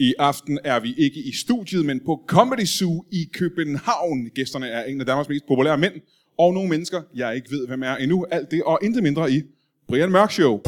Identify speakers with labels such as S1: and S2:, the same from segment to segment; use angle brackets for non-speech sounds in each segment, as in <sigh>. S1: I aften er vi ikke i studiet, men på Comedy Zoo i København. Gæsterne er en af Danmarks mest populære mænd, og nogle mennesker, jeg ikke ved, hvem er endnu. Alt det og intet mindre i Brian Mørk Show.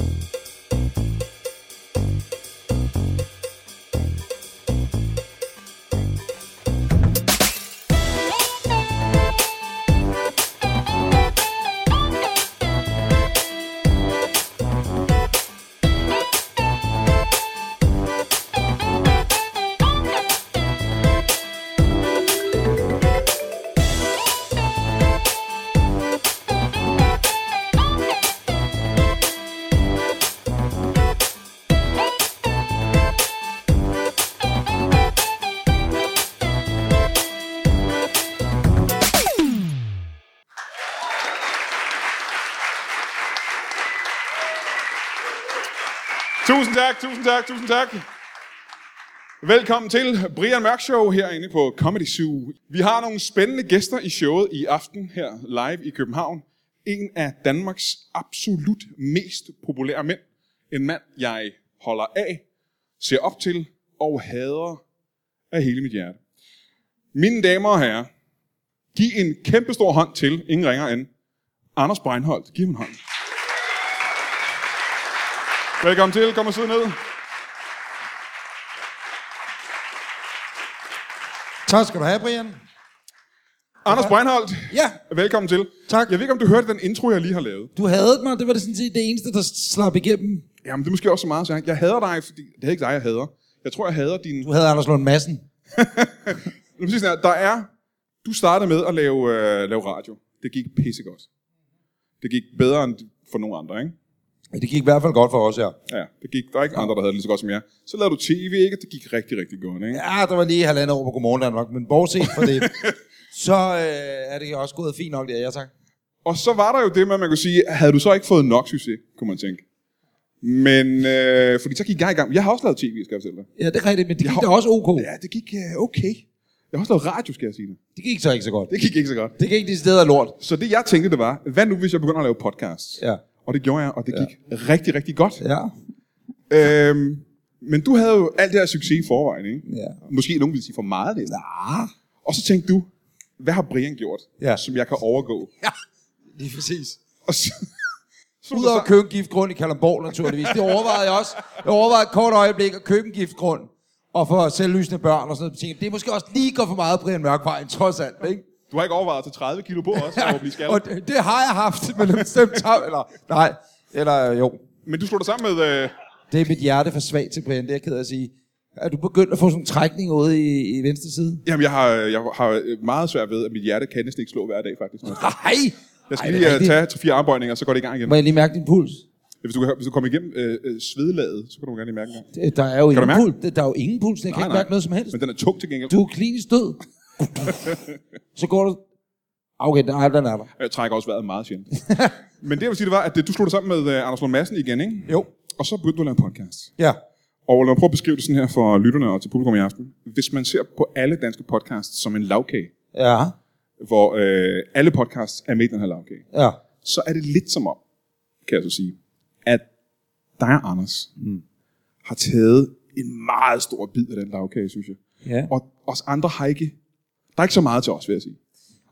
S1: Tusind tak, tusind tak, tusind tak. Velkommen til Brian Mørk Show herinde på Comedy Zoo. Vi har nogle spændende gæster i showet i aften her live i København. En af Danmarks absolut mest populære mænd. En mand, jeg holder af, ser op til og hader af hele mit hjerte. Mine damer og herrer, giv en kæmpestor hånd til ingen ringer end Anders Breinholt. Giv ham en hånd. Velkommen til. Kom og sidde ned.
S2: Tak skal du have, Brian.
S1: Anders Breinholt,
S2: Ja,
S1: velkommen til.
S2: Tak.
S1: Jeg ved ikke, om du hørte den intro, jeg lige har lavet.
S2: du havde mig. Det var det sådan set det eneste, der slap igennem.
S1: Jamen, det er måske også så meget, så jeg, jeg hader dig, fordi det er ikke dig, jeg hader. Jeg tror, jeg hader din...
S2: Du havde Anders Lund Madsen.
S1: Nu præcis sådan her. Der er... Du startede med at lave, øh, lave radio. Det gik pissegodt. Det gik bedre end for nogle andre, ikke?
S2: Ja, det gik i hvert fald godt for os, ja.
S1: Ja, det gik, der er ikke andre, der havde det lige så godt som jeg. Så lavede du tv, ikke? Det gik rigtig, rigtig godt, ikke?
S2: Ja, der var lige halvandet år på Godmorgen Danmark, men bortset fra <laughs> det, så øh, er det også gået fint nok der, ja tak.
S1: Og så var der jo det med, at man kunne sige, havde du så ikke fået nok succes, kunne man tænke. Men, øh, fordi så gik jeg i gang. Jeg har også lavet tv, skal jeg fortælle dig.
S2: Ja, det er rigtigt, men det gik
S1: Jo.
S2: da også ok.
S1: Ja, det gik øh, okay. Jeg har også lavet radio, skal jeg sige det.
S2: Det gik så ikke så godt.
S1: Det gik ikke så godt.
S2: Det gik de steder lort.
S1: Så det jeg tænkte, det var, hvad nu hvis jeg begynder at lave podcasts?
S2: Ja.
S1: Og det gjorde jeg, og det gik ja. rigtig, rigtig godt.
S2: Ja.
S1: Ja. Øhm, men du havde jo alt det her succes i forvejen, ikke?
S2: Ja.
S1: Måske nogen ville sige for meget det.
S2: Ah,
S1: Og så tænkte du, hvad har Brian gjort,
S2: Ja.
S1: som jeg kan overgå?
S2: lige præcis.
S1: Og så, så,
S2: Ud over
S1: så,
S2: at købe en giftgrund i Kalamborg, naturligvis. Det overvejede jeg også. Jeg overvejede et kort øjeblik at købe en giftgrund. Og for selvlysende børn og sådan noget. Jeg tænkte, Det er måske også lige går for meget Brian Mørkvejen, trods alt, ikke?
S1: du har ikke overvejet at tage 30 kilo på
S2: <laughs>
S1: også, for at blive
S2: og
S1: skaldet.
S2: det, det har jeg haft, men det bestemt tager, eller nej, eller øh, jo.
S1: Men du slog dig sammen med... Øh,
S2: Det er mit hjerte for svagt til, Brian, det er jeg ked af at sige. Er du begyndt at få sådan en trækning ude i, i venstre side?
S1: jamen, jeg har, jeg har meget svært ved, at mit hjerte kan næsten ikke slå hver dag, faktisk.
S2: Nej!
S1: Jeg skal
S2: Ej,
S1: lige
S2: det er
S1: øh,
S2: rigtigt.
S1: tage 3-4 armbøjninger, så går det i gang igen.
S2: Må jeg lige mærke din puls?
S1: Hvis du, kan- hvis du kommer igennem øh, øh, svedlaget, så kan du gerne lige mærke det.
S2: Det- Der er jo,
S1: du
S2: ingen
S1: mærke?
S2: puls. Det- Der er jo ingen puls, jeg kan ikke mærke noget som helst.
S1: Men den er tung til gengæld.
S2: Du er klinisk <laughs> død. Så går du... Okay, der er den er der.
S1: Og Jeg trækker også vejret meget
S2: <laughs>
S1: sjældent. Men det, jeg vil sige, det var, at øh, du slog dig sammen med øh, Anders Lund Madsen igen, ikke?
S2: Jo.
S1: Og så begyndte du at lave podcast.
S2: Ja.
S1: Og lad mig prøve at beskrive det sådan her for lytterne og til publikum i aften. Hvis man ser på alle danske podcasts som en lavkage,
S2: Ja.
S1: hvor øh, alle podcasts er med i den her lavkage,
S2: Ja.
S1: så er det lidt som om, kan jeg så sige, at dig og Anders mm. har taget en meget stor bid af den lavkage, synes jeg.
S2: ja.
S1: Og os andre har ikke... Der er ikke så meget til os, vil jeg sige.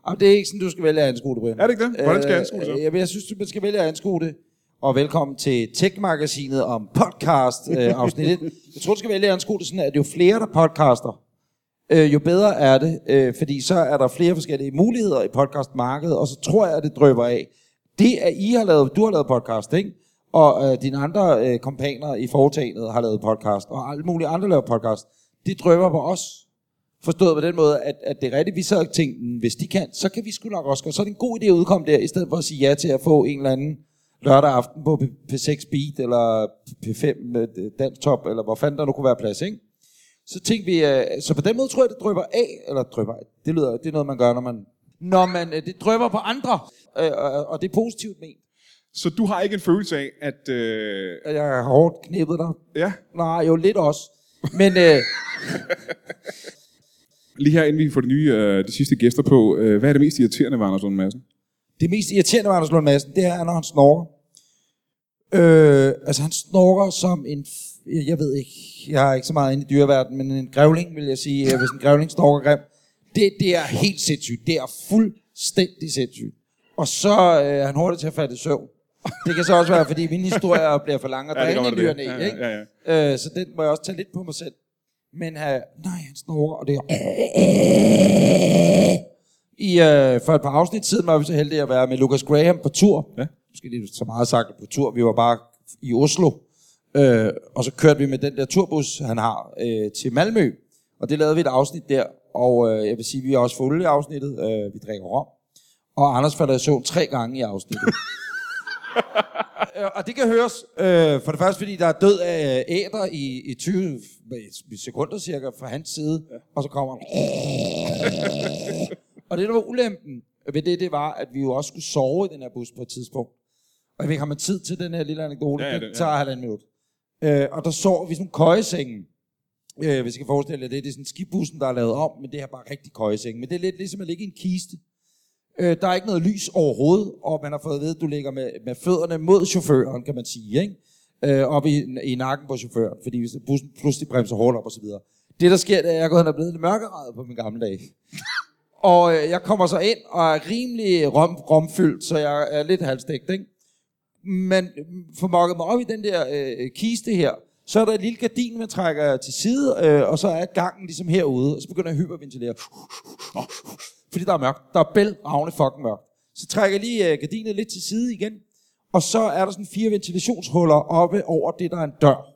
S2: Jamen, det er ikke sådan, du skal vælge at anskue det, Brian.
S1: Er det ikke det? Hvordan skal jeg anskue det så?
S2: Øh, jamen, jeg synes, man skal vælge at anskue det. Og velkommen til Tech-magasinet om podcast
S1: <laughs>
S2: øh, afsnit 1. Jeg tror, du skal vælge at anskue det sådan, at jo flere der podcaster, øh, jo bedre er det. Øh, fordi så er der flere forskellige muligheder i podcastmarkedet, og så tror jeg, at det drøber af. Det, at I har lavet, du har lavet podcast, ikke? og øh, dine andre øh, kompaner i foretagendet har lavet podcast, og alle mulige andre laver podcast, det drøber på os. Forstået på den måde, at, at det er rigtigt, vi sad og tænkte, "Mm, hvis de kan, så kan vi sgu nok også gøre. Så er det en god idé at udkomme der, i stedet for at sige ja til at få en eller anden lørdag aften på P- P6 Beat, eller P5 med øh, Dansk Top, eller hvor fanden der nu kunne være plads, ikke? Så tænkte vi, øh, så på den måde tror jeg, det drøber af, eller drøber af, det, lyder, det er noget, man gør, når man, når man øh, det drøber på andre, øh, og, og det er positivt ment.
S1: Så du har ikke en følelse af, at... Øh,
S2: At Jeg har hårdt knippet dig.
S1: ja,
S2: Nej, jo lidt også. Men øh,
S1: lige her inden vi får de nye, øh, de sidste gæster på, øh, hvad er det mest irriterende ved Anders Lund Madsen?
S2: Det mest irriterende ved Anders Lund Madsen, det er, når han snorker. Øh, altså han snorker som en, f- jeg, jeg ved ikke, jeg er ikke så meget inde i dyreverdenen, men en grævling, vil jeg sige, øh, hvis en grævling snorker grim, det, det er helt sindssygt. Det er fuldstændig sindssygt. Og så øh, er han hurtigt til at fatte i søvn. Det kan så også være, fordi mine
S1: <laughs>
S2: historier bliver for lange, og
S1: Ja,
S2: ja,
S1: det
S2: der er
S1: kan
S2: en
S1: godt være
S2: dyrene
S1: det.
S2: ja,
S1: Ja,
S2: ja,
S1: ja,
S2: ikke? Øh, så den må jeg også tage lidt på mig selv. Men øh, nej, han snorker, og det er... I, øh, for et par afsnit siden var vi så heldige at være med Lucas Graham på tur.
S1: Ja.
S2: Måske det er så meget sagt på tur. Vi var bare i Oslo. Øh, og så kørte vi med den der turbus, han har, øh, til Malmø. Og det lavede vi et afsnit der. Og øh, jeg vil sige, vi har også fået i afsnittet. Øh, vi drikker rom. Og Anders falder i søvn tre gange i afsnittet. Øh, <laughs> og det kan høres, øh, for det første fordi der er død af æder i, i 20 sekunder cirka fra hans side, ja. og så kommer han. og det der var ulempen ved det, det var, at vi jo også skulle sove i den her bus på et tidspunkt. Og jeg ved ikke, har man tid til den her lille anekdote?
S1: Ja,
S2: Ja,
S1: ja,
S2: ja,
S1: det-
S2: det tager halvanden minut. Øh, og der sover vi i sådan køjesengen. Øh, hvis I kan forestille jer det, det er sådan skibussen, der er lavet om, men det her er bare rigtig køjeseng. Men det er lidt ligesom at ligge i en kiste. Øh, der er ikke noget lys overhovedet, og man har fået at vide, at du ligger med, med fødderne mod chaufføren, kan man sige, ikke? Øh, op i, i nakken på chaufføren, fordi hvis bussen pludselig bremser hårdt op og så videre. Det, der sker, det er, at jeg er gået hen og blevet lidt mørkeret på min gamle dag. og øh, jeg kommer så ind og er rimelig rom, romfyldt, så jeg er lidt halvstægt, ikke? man får mokket mig op i den der øh, kiste her, så er der et lille gardin, man trækker til side, øh, og så er gangen ligesom herude, og så begynder jeg at hyperventilere. Fordi der er mørkt. Der er bælragende fucking mørkt. Så trækker jeg lige øh, gardinet lidt til side igen, og så er der sådan fire ventilationshuller oppe over det, der er en dør.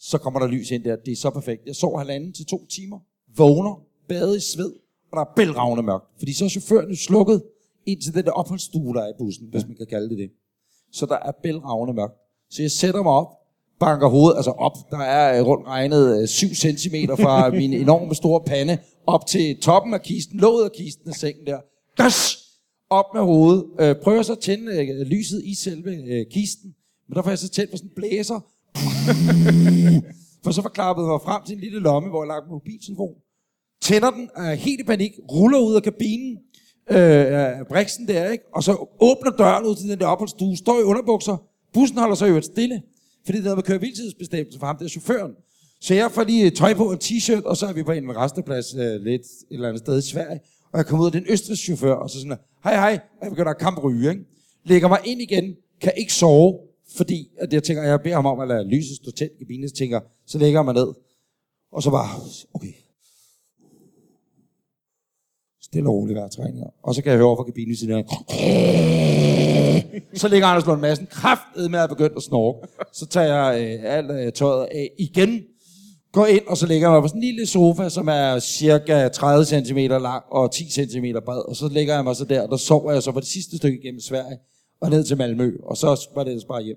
S2: Så kommer der lys ind der. Det er så perfekt. Jeg sov halvanden til to timer, vågner, bade i sved, og der er bælragende mørkt. Fordi så er chaufføren jo slukket ind til den der opholdsstue, der er i bussen, hvis man kan kalde det det så der er bælragende mørkt. Så jeg sætter mig op, banker hovedet, altså op, der er øh, rundt regnet øh, 7 cm fra min enorme store pande, op til toppen af kisten, låget af kisten af sengen der. Dash! Op med hovedet. Øh, prøver så at tænde øh, lyset i selve øh, kisten, men der får jeg så tændt på sådan en blæser, <laughs> for så forklappede mig frem til en lille lomme, hvor jeg lagde min mobiltelefon. Tænder den, er helt i panik, ruller ud af kabinen, øh, af briksen der, ikke? og så åbner døren ud til den der opholdsstue, står i underbukser, bussen holder sig jo stille, fordi det havde med køre hviletidsbestemmelse for ham, det er chaufføren. Så jeg får lige tøj på og en t-shirt, og så er vi på en resteplads øh, lidt et eller andet sted i Sverige, og jeg kommer ud af den østrigske chauffør, og så sådan, her, hej hej, og jeg begynder at kampryge, ikke? Lægger mig ind igen, kan ikke sove, fordi at jeg tænker, jeg beder ham om at lade lyset stå tændt i kabinen, så tænker, jeg, så lægger jeg mig ned, og så bare, okay, stille og roligt hver træning. Og så kan jeg høre over fra kabinen ved siden af. Så ligger Anders Lund Madsen kraftedet med at begynde at snorke. Så tager jeg øh, alt øh, tøjet af igen, går ind, og så ligger jeg mig på sådan en lille sofa, som er cirka 30 cm lang og 10 cm bred. Og så ligger jeg mig så der, og der sover jeg så på det sidste stykke igennem Sverige og ned til Malmø. Og så var det ellers bare hjem.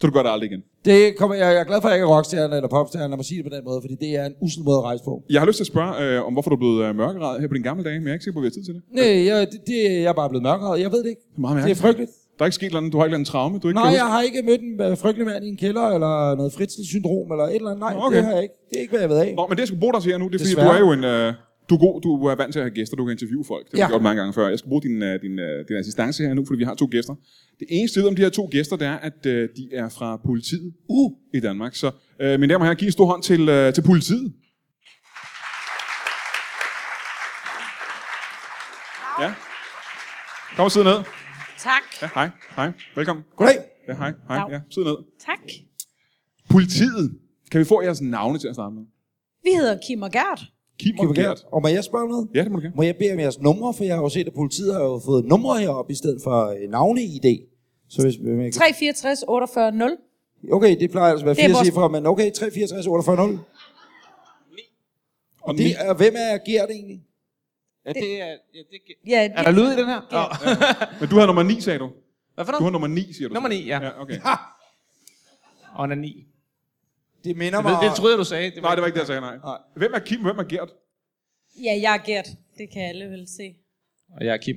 S1: Så du gør det aldrig igen.
S2: Det kommer, jeg, jeg er glad for, at jeg ikke er rockstjerne eller popstjerne, lad mig sige det på den måde, fordi det er en usel måde at rejse på.
S1: Jeg har lyst til at spørge, øh, om hvorfor du er blevet øh, mørkeret her på din gamle dage, men jeg er ikke sikker på, at vi har tid til det.
S2: Nej, jeg, det, det, jeg er bare blevet mørkere, jeg ved det ikke.
S1: er meget
S2: det er
S1: mærkeligt.
S2: frygteligt.
S1: Der er ikke sket noget, du har ikke lavet en traume, du ikke
S2: Nej,
S1: kan huske.
S2: jeg har ikke mødt en øh, frygtelig mand i en kælder, eller noget fritzel-syndrom, eller et eller andet. Nej,
S1: Nå,
S2: okay.
S1: okay.
S2: det har jeg ikke. Det er ikke, hvad jeg ved af.
S1: Nå, men det, jeg skal bruge dig til her nu, det er, fordi du
S2: Desværre.
S1: er jo en... Øh, du er god, du er vant til at have gæster, du kan interviewe folk. Det har vi
S2: Ja.
S1: gjort mange gange før. Jeg skal bruge din, øh, din, øh, din assistance her nu, fordi vi har to gæster. Det eneste ved om de her to gæster, det er, at øh, de er fra politiet uh. i Danmark. Så øh, mine damer og herrer, giv en stor hånd til, øh, til politiet. Ja. Kom og sid ned.
S3: Tak.
S1: Ja, hej. Hej. Velkommen.
S2: Goddag.
S1: Ja, hej. Hej.
S3: Dag.
S1: Ja, sid ned.
S3: Tak.
S1: Politiet. Kan vi få jeres navne til at starte med?
S3: Vi hedder Kim og Gert.
S1: Kim og
S2: Kim og
S1: Gert.
S2: Gert. Og må jeg spørge om noget?
S1: Ja, det må du gerne.
S2: Må jeg bede om jeres numre, for jeg har jo set, at politiet har jo fået numre heroppe, i stedet for øh, navne-ID. Så hvis, øh, man kan-
S3: 364 48 0.
S2: okay, det plejer altså at være
S3: Det er
S2: fire
S3: vores-
S2: cifre, men okay, 364 48 0.
S1: Og
S2: Det
S1: Nick.
S2: er, hvem er Gert egentlig?
S4: Ja, det er... Ja, det,
S3: Ja,
S4: er der lyd i den her? Ja.
S1: Men du havde nummer 9, sagde du?
S4: Hvad for
S1: Du
S4: noget?
S1: havde nummer 9, siger du. så.
S4: Nummer 9, ja.
S1: ja okay.
S4: Og den er 9.
S2: Det minder
S4: Det,
S2: mig...
S4: ved- det troede jeg, du sagde.
S1: Nej, det var ikke det, jeg sagde nej.
S2: Nej.
S1: Hvem er Kim, hvem er Gert?
S3: ja, jeg er Gert. Det kan alle vel se.
S4: Og jeg er Kim.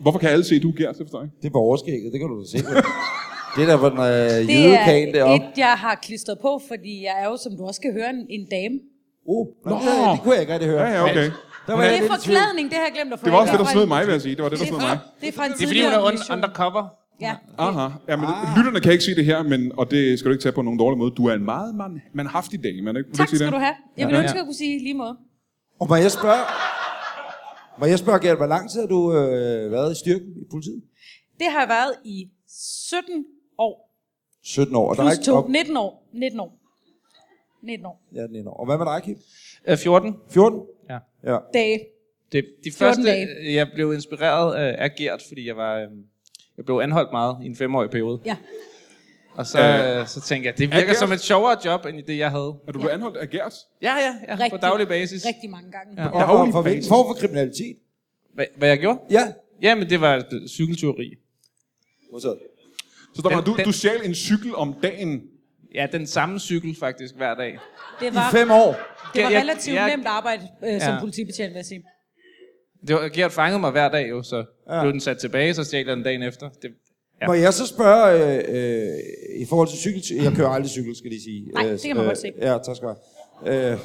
S1: Hvorfor kan alle se, at du er Gert? Det forstår jeg ikke.
S2: Det er på overskægget, det kan du da se. det er der, hvor den øh,
S3: Det er
S2: jødekagen deroppe.
S3: et, jeg har klistret på, fordi jeg er jo, som du også kan høre, en, en dame.
S2: Oh, nå,
S1: Nå.
S2: det, det kunne jeg ikke rigtig høre.
S1: Ja, ja, okay.
S2: Der var jeg lidt
S3: Det er
S2: i tvivl.
S3: forklædning, det har jeg glemt at få
S1: Det var også det,
S3: ind.
S1: der
S3: fra
S1: snød
S3: en-
S1: mig, vil jeg sige. Det var det, der
S3: det er
S1: snød mig.
S3: fra- Det er fra en
S4: Det er fordi, hun er
S3: tidligere
S4: un-
S3: mission.
S4: undercover.
S3: Ja.
S1: Aha. Ja, men ah. lytterne kan ikke sige det her, men, og det skal du ikke tage på nogen dårlig måde. Du er en meget man, manhaftig dame. Man, ikke, vil du
S3: Tak
S1: ikke sige
S3: skal
S1: det?
S3: du have. Jeg vil
S4: Ja.
S3: ønske, at jeg kunne sige lige måde.
S2: Og må jeg spørge, må jeg spørge, Gert, hvor lang tid har du øh, været i styrken i politiet?
S3: Det har jeg været i 17 år.
S2: 17 år. Og der er
S3: Plus
S2: ikke
S3: to.
S2: op-
S3: 19 år. 19 år. 19 år.
S2: Ja, 19 år. Og hvad med dig, Kim?
S4: Øh, 14.
S2: 14?
S4: Ja.
S2: Ja.
S3: Dage.
S4: Det, de første,
S3: dage.
S4: jeg blev inspireret øh, af Gert, fordi jeg var... Øh, jeg blev anholdt meget i en femårig periode.
S3: Ja.
S4: Og så, øh, så tænkte jeg, det virker
S1: Gert?
S4: som et sjovere job, end det, jeg havde.
S1: Er du blevet anholdt af Gert?
S4: Ja, ja, ja på
S3: Rigtig-
S4: daglig basis.
S3: Rigtig mange gange.
S4: Ja.
S2: Og, og for hvilken form for kriminalitet?
S4: Hvad, hvad jeg gjorde?
S2: Ja.
S4: Jamen, det var øh, cykeltyveri.
S2: Modtaget.
S1: Så der
S4: Den-
S1: var, du,
S4: den-
S1: du stjal en cykel om dagen.
S4: Ja, den samme cykel faktisk hver dag.
S3: Det
S2: I
S3: var,
S2: fem år.
S3: det var
S4: Jeg-
S3: relativt
S4: jeg-
S3: nemt arbejde øh, som
S4: Ja.
S3: politibetjent, vil jeg sige.
S4: Det var, Gert fangede mig hver dag jo, så
S2: Ja.
S4: ja. blev den sat tilbage, så stjal jeg den dagen efter. Det,
S2: Ja. Må jeg så spørge, øh, øh, i forhold til cykel... Jeg kører aldrig cykel, skal jeg lige sige. Øh,
S3: Nej, det kan man godt se.
S2: Ja, tak skal du have. Øh,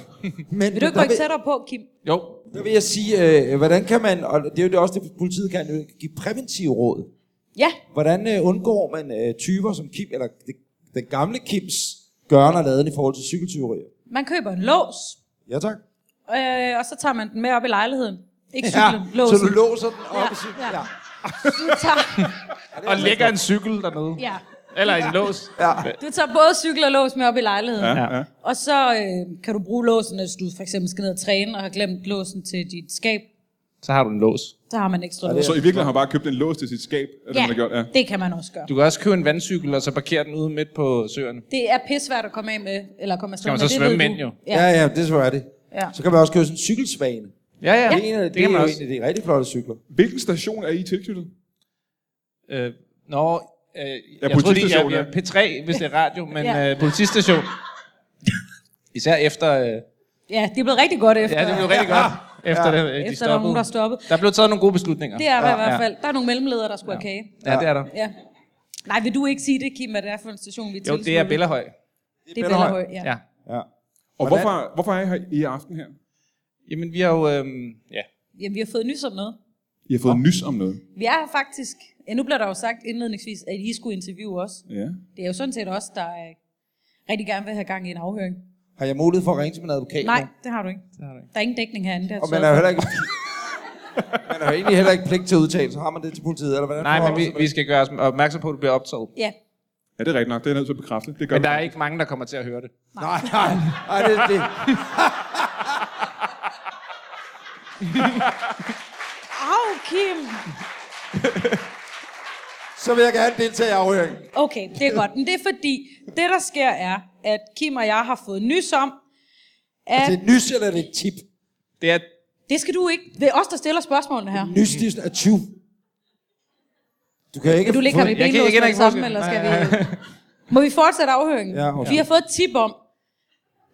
S2: men,
S3: <laughs> Vil du ikke
S2: der
S3: rykke tættere på, Kim?
S4: jo,
S2: Der vil jeg sige, øh, hvordan kan man, og det er jo det også det, politiet kan, øh, give præventive råd.
S3: Ja,
S2: Hvordan øh, undgår man øh, typer som Kim, eller det, den gamle Kims gørn og laden i forhold til cykeltyverier?
S3: man køber en lås,
S2: Ja tak.
S3: øh, og så tager man den med op i lejligheden. Ikke cyklen, ja,
S2: så
S3: låsen.
S2: du låser den op
S3: Ja,
S2: i cyklen?
S3: ja.
S2: Ja.
S3: Du tager,
S4: og altså lægger en cykel dernede.
S3: ja.
S4: Eller en lås.
S2: ja.
S3: du tager både cykel og lås med op i lejligheden.
S1: Ja,
S3: Ja.
S1: ja.
S4: Ja.
S1: ja.
S3: Og så øh, kan du bruge låsen, hvis du for eksempel skal ned og træne og har glemt låsen til dit skab.
S4: Så har du en lås.
S3: Så har man ekstra lås.
S1: Så i virkeligheden har han bare købt en lås til sit skab. Er det, man har gjort? Ja.
S3: det kan man også gøre.
S4: Du kan også købe en vandcykel, og så parkere den ude midt på søerne.
S3: Det er pissvært at komme af med, eller komme afsted
S4: Skal man
S3: med,
S4: så
S3: det ved
S4: svømme
S3: du.
S4: ind, jo?
S3: Ja.
S2: ja, ja, det tror jeg det.
S3: Ja.
S2: Så kan man også købe sådan en cykelsvane.
S4: Ja, ja,
S2: Ja, det, er, det, det
S4: kan
S2: er
S4: man
S2: jo
S4: også.
S2: en af de rigtig flotte cykler.
S1: Hvilken station er I tilknyttet?
S4: Øh, nå, øh, jeg, troede lige, jeg
S1: politistation,
S4: bliver P3, hvis det er radio, men
S3: Ja.
S4: øh, politistation. Især efter... Øh,
S3: ja, det er blevet rigtig godt efter.
S4: ja, det blev rigtig godt, efter, ja.
S3: Efter
S4: de
S3: der var nogen, der stoppede.
S4: Der blev taget nogle gode beslutninger.
S3: Det er der i
S4: Ja.
S3: hvert fald. Der er nogle mellemledere, der skulle have kage.
S4: Ja, det er der.
S3: Ja. Nej, vil du ikke sige det, Kim, hvad det er for en station, vi er
S4: Jo, det er
S3: tilsluttet?
S4: Bellahøj.
S3: Det er
S2: Bellahøj.
S3: Bellahøj, ja.
S4: Ja.
S2: Ja.
S1: Og hvorfor, hvorfor er I her i aften her?
S4: Jamen, vi har jo... Øhm, ja.
S3: Jamen, vi har fået nys om noget.
S1: I har fået nys om noget.
S3: Vi er her faktisk, ja, nu blev der jo sagt indledningsvis, at I skulle interviewe os.
S1: Ja.
S3: Det er jo sådan set os, der øh, rigtig gerne vil have gang i en afhøring.
S2: Har jeg mulighed for at ringe til min advokat?
S3: Nej,
S2: nu?
S3: det har du ikke.
S4: har du ikke.
S3: Der er ingen dækning herinde. Det har
S2: Og man
S3: jeg sørget
S2: er jo
S3: for.
S2: heller ikke... <laughs> man er jo egentlig heller ikke pligt til at udtale, så har man det til politiet, eller hvordan?
S4: Nej, men
S2: forholder
S4: vi,
S2: man sig
S4: vi skal gøre os opmærksom på, at du bliver optaget.
S3: Ja,
S1: Ja, det er rigtigt nok. Det er jeg nødt til at bekræfte. Det gør
S4: Men der
S1: vi.
S4: er ikke mange, der kommer til at høre det.
S2: Nej, nej, nej, det, det.
S3: Au, Kim!
S2: Så vil jeg gerne deltage i afhøringen.
S3: Okay, det er godt. Men det er fordi, det der sker er, at Kim og jeg har fået nys om,
S2: Er
S3: at...
S2: det et nys, eller er det et tip?
S4: Det er,
S3: Det skal du ikke. Det er os, der stiller spørgsmålene her.
S2: Nys, det er sådan, at 20. Du kan ikke...
S3: Vil du ligge
S2: få-
S3: ham i
S4: kan- jeg
S3: benlås med
S4: kender
S3: det
S4: ikke
S3: samme,
S4: forskel.
S3: eller skal
S4: Nej,
S3: vi... Må vi fortsætte afhøringen?
S2: Ja, okay.
S3: Vi har fået et tip om,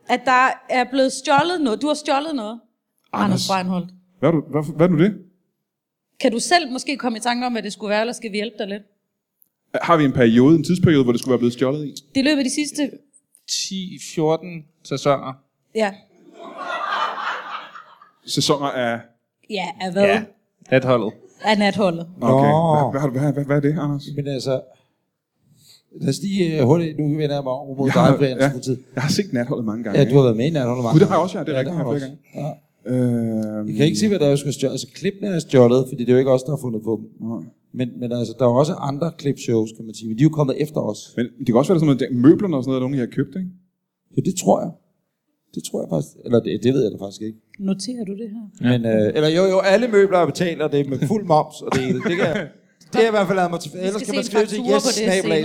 S3: at der er blevet stjålet noget. Du har stjålet noget, Anders, Anders Breinholt.
S1: Hvad er, du, hvad, hvad er nu det?
S3: Kan du selv måske komme i tanke om, hvad det skulle være, eller skal vi hjælpe dig lidt?
S1: Har vi en periode, en tidsperiode, hvor det skulle være blevet stjålet i?
S3: Det er i løbet af de sidste...
S4: 10-14 sæsoner.
S3: Ja.
S1: Sæsoner af...
S3: Ja, af hvad? Ja.
S4: natholdet.
S3: Af natholdet.
S1: Okay.
S2: Nå.
S1: Hvad, hvad, hvad, hvad, hvad er det, Anders?
S2: Men altså... Lad os lige uh, hurtigt, nu vender jeg mig over mod dig, Brian, ja. politiet.
S1: jeg har set natholdet mange gange.
S2: Ja, du
S1: har...
S2: har været med i natholdet mange
S1: Gud, det har jeg også, ja. Det er
S2: Ja,
S1: rigtigt.
S2: det har
S1: jeg
S2: du
S1: flere gange. Øhm,
S2: Jeg kan ikke sige, hvad der er, skulle stjålet. Altså, klippene er stjålet, fordi det er jo ikke os, der har fundet på dem.
S1: Nej.
S2: Men, men altså, der er jo også andre klipshows, kan man sige. Men de er jo kommet efter os.
S1: Men det kan også være, der er sådan noget, møblerne og sådan noget, nogen, I har købt, ikke?
S2: Ja, det tror jeg. Det tror jeg faktisk. Eller det, det ved jeg da faktisk ikke.
S3: Noterer du det her?
S2: Men, øh, eller jo, jo, alle møbler er betalt, og det er med fuld moms og det hele. Det kan,
S3: <laughs>
S2: det har jeg i hvert fald lavet mig til. Ellers kan
S3: se
S2: man
S3: en
S2: skrive til
S3: faktura
S2: yes
S3: på det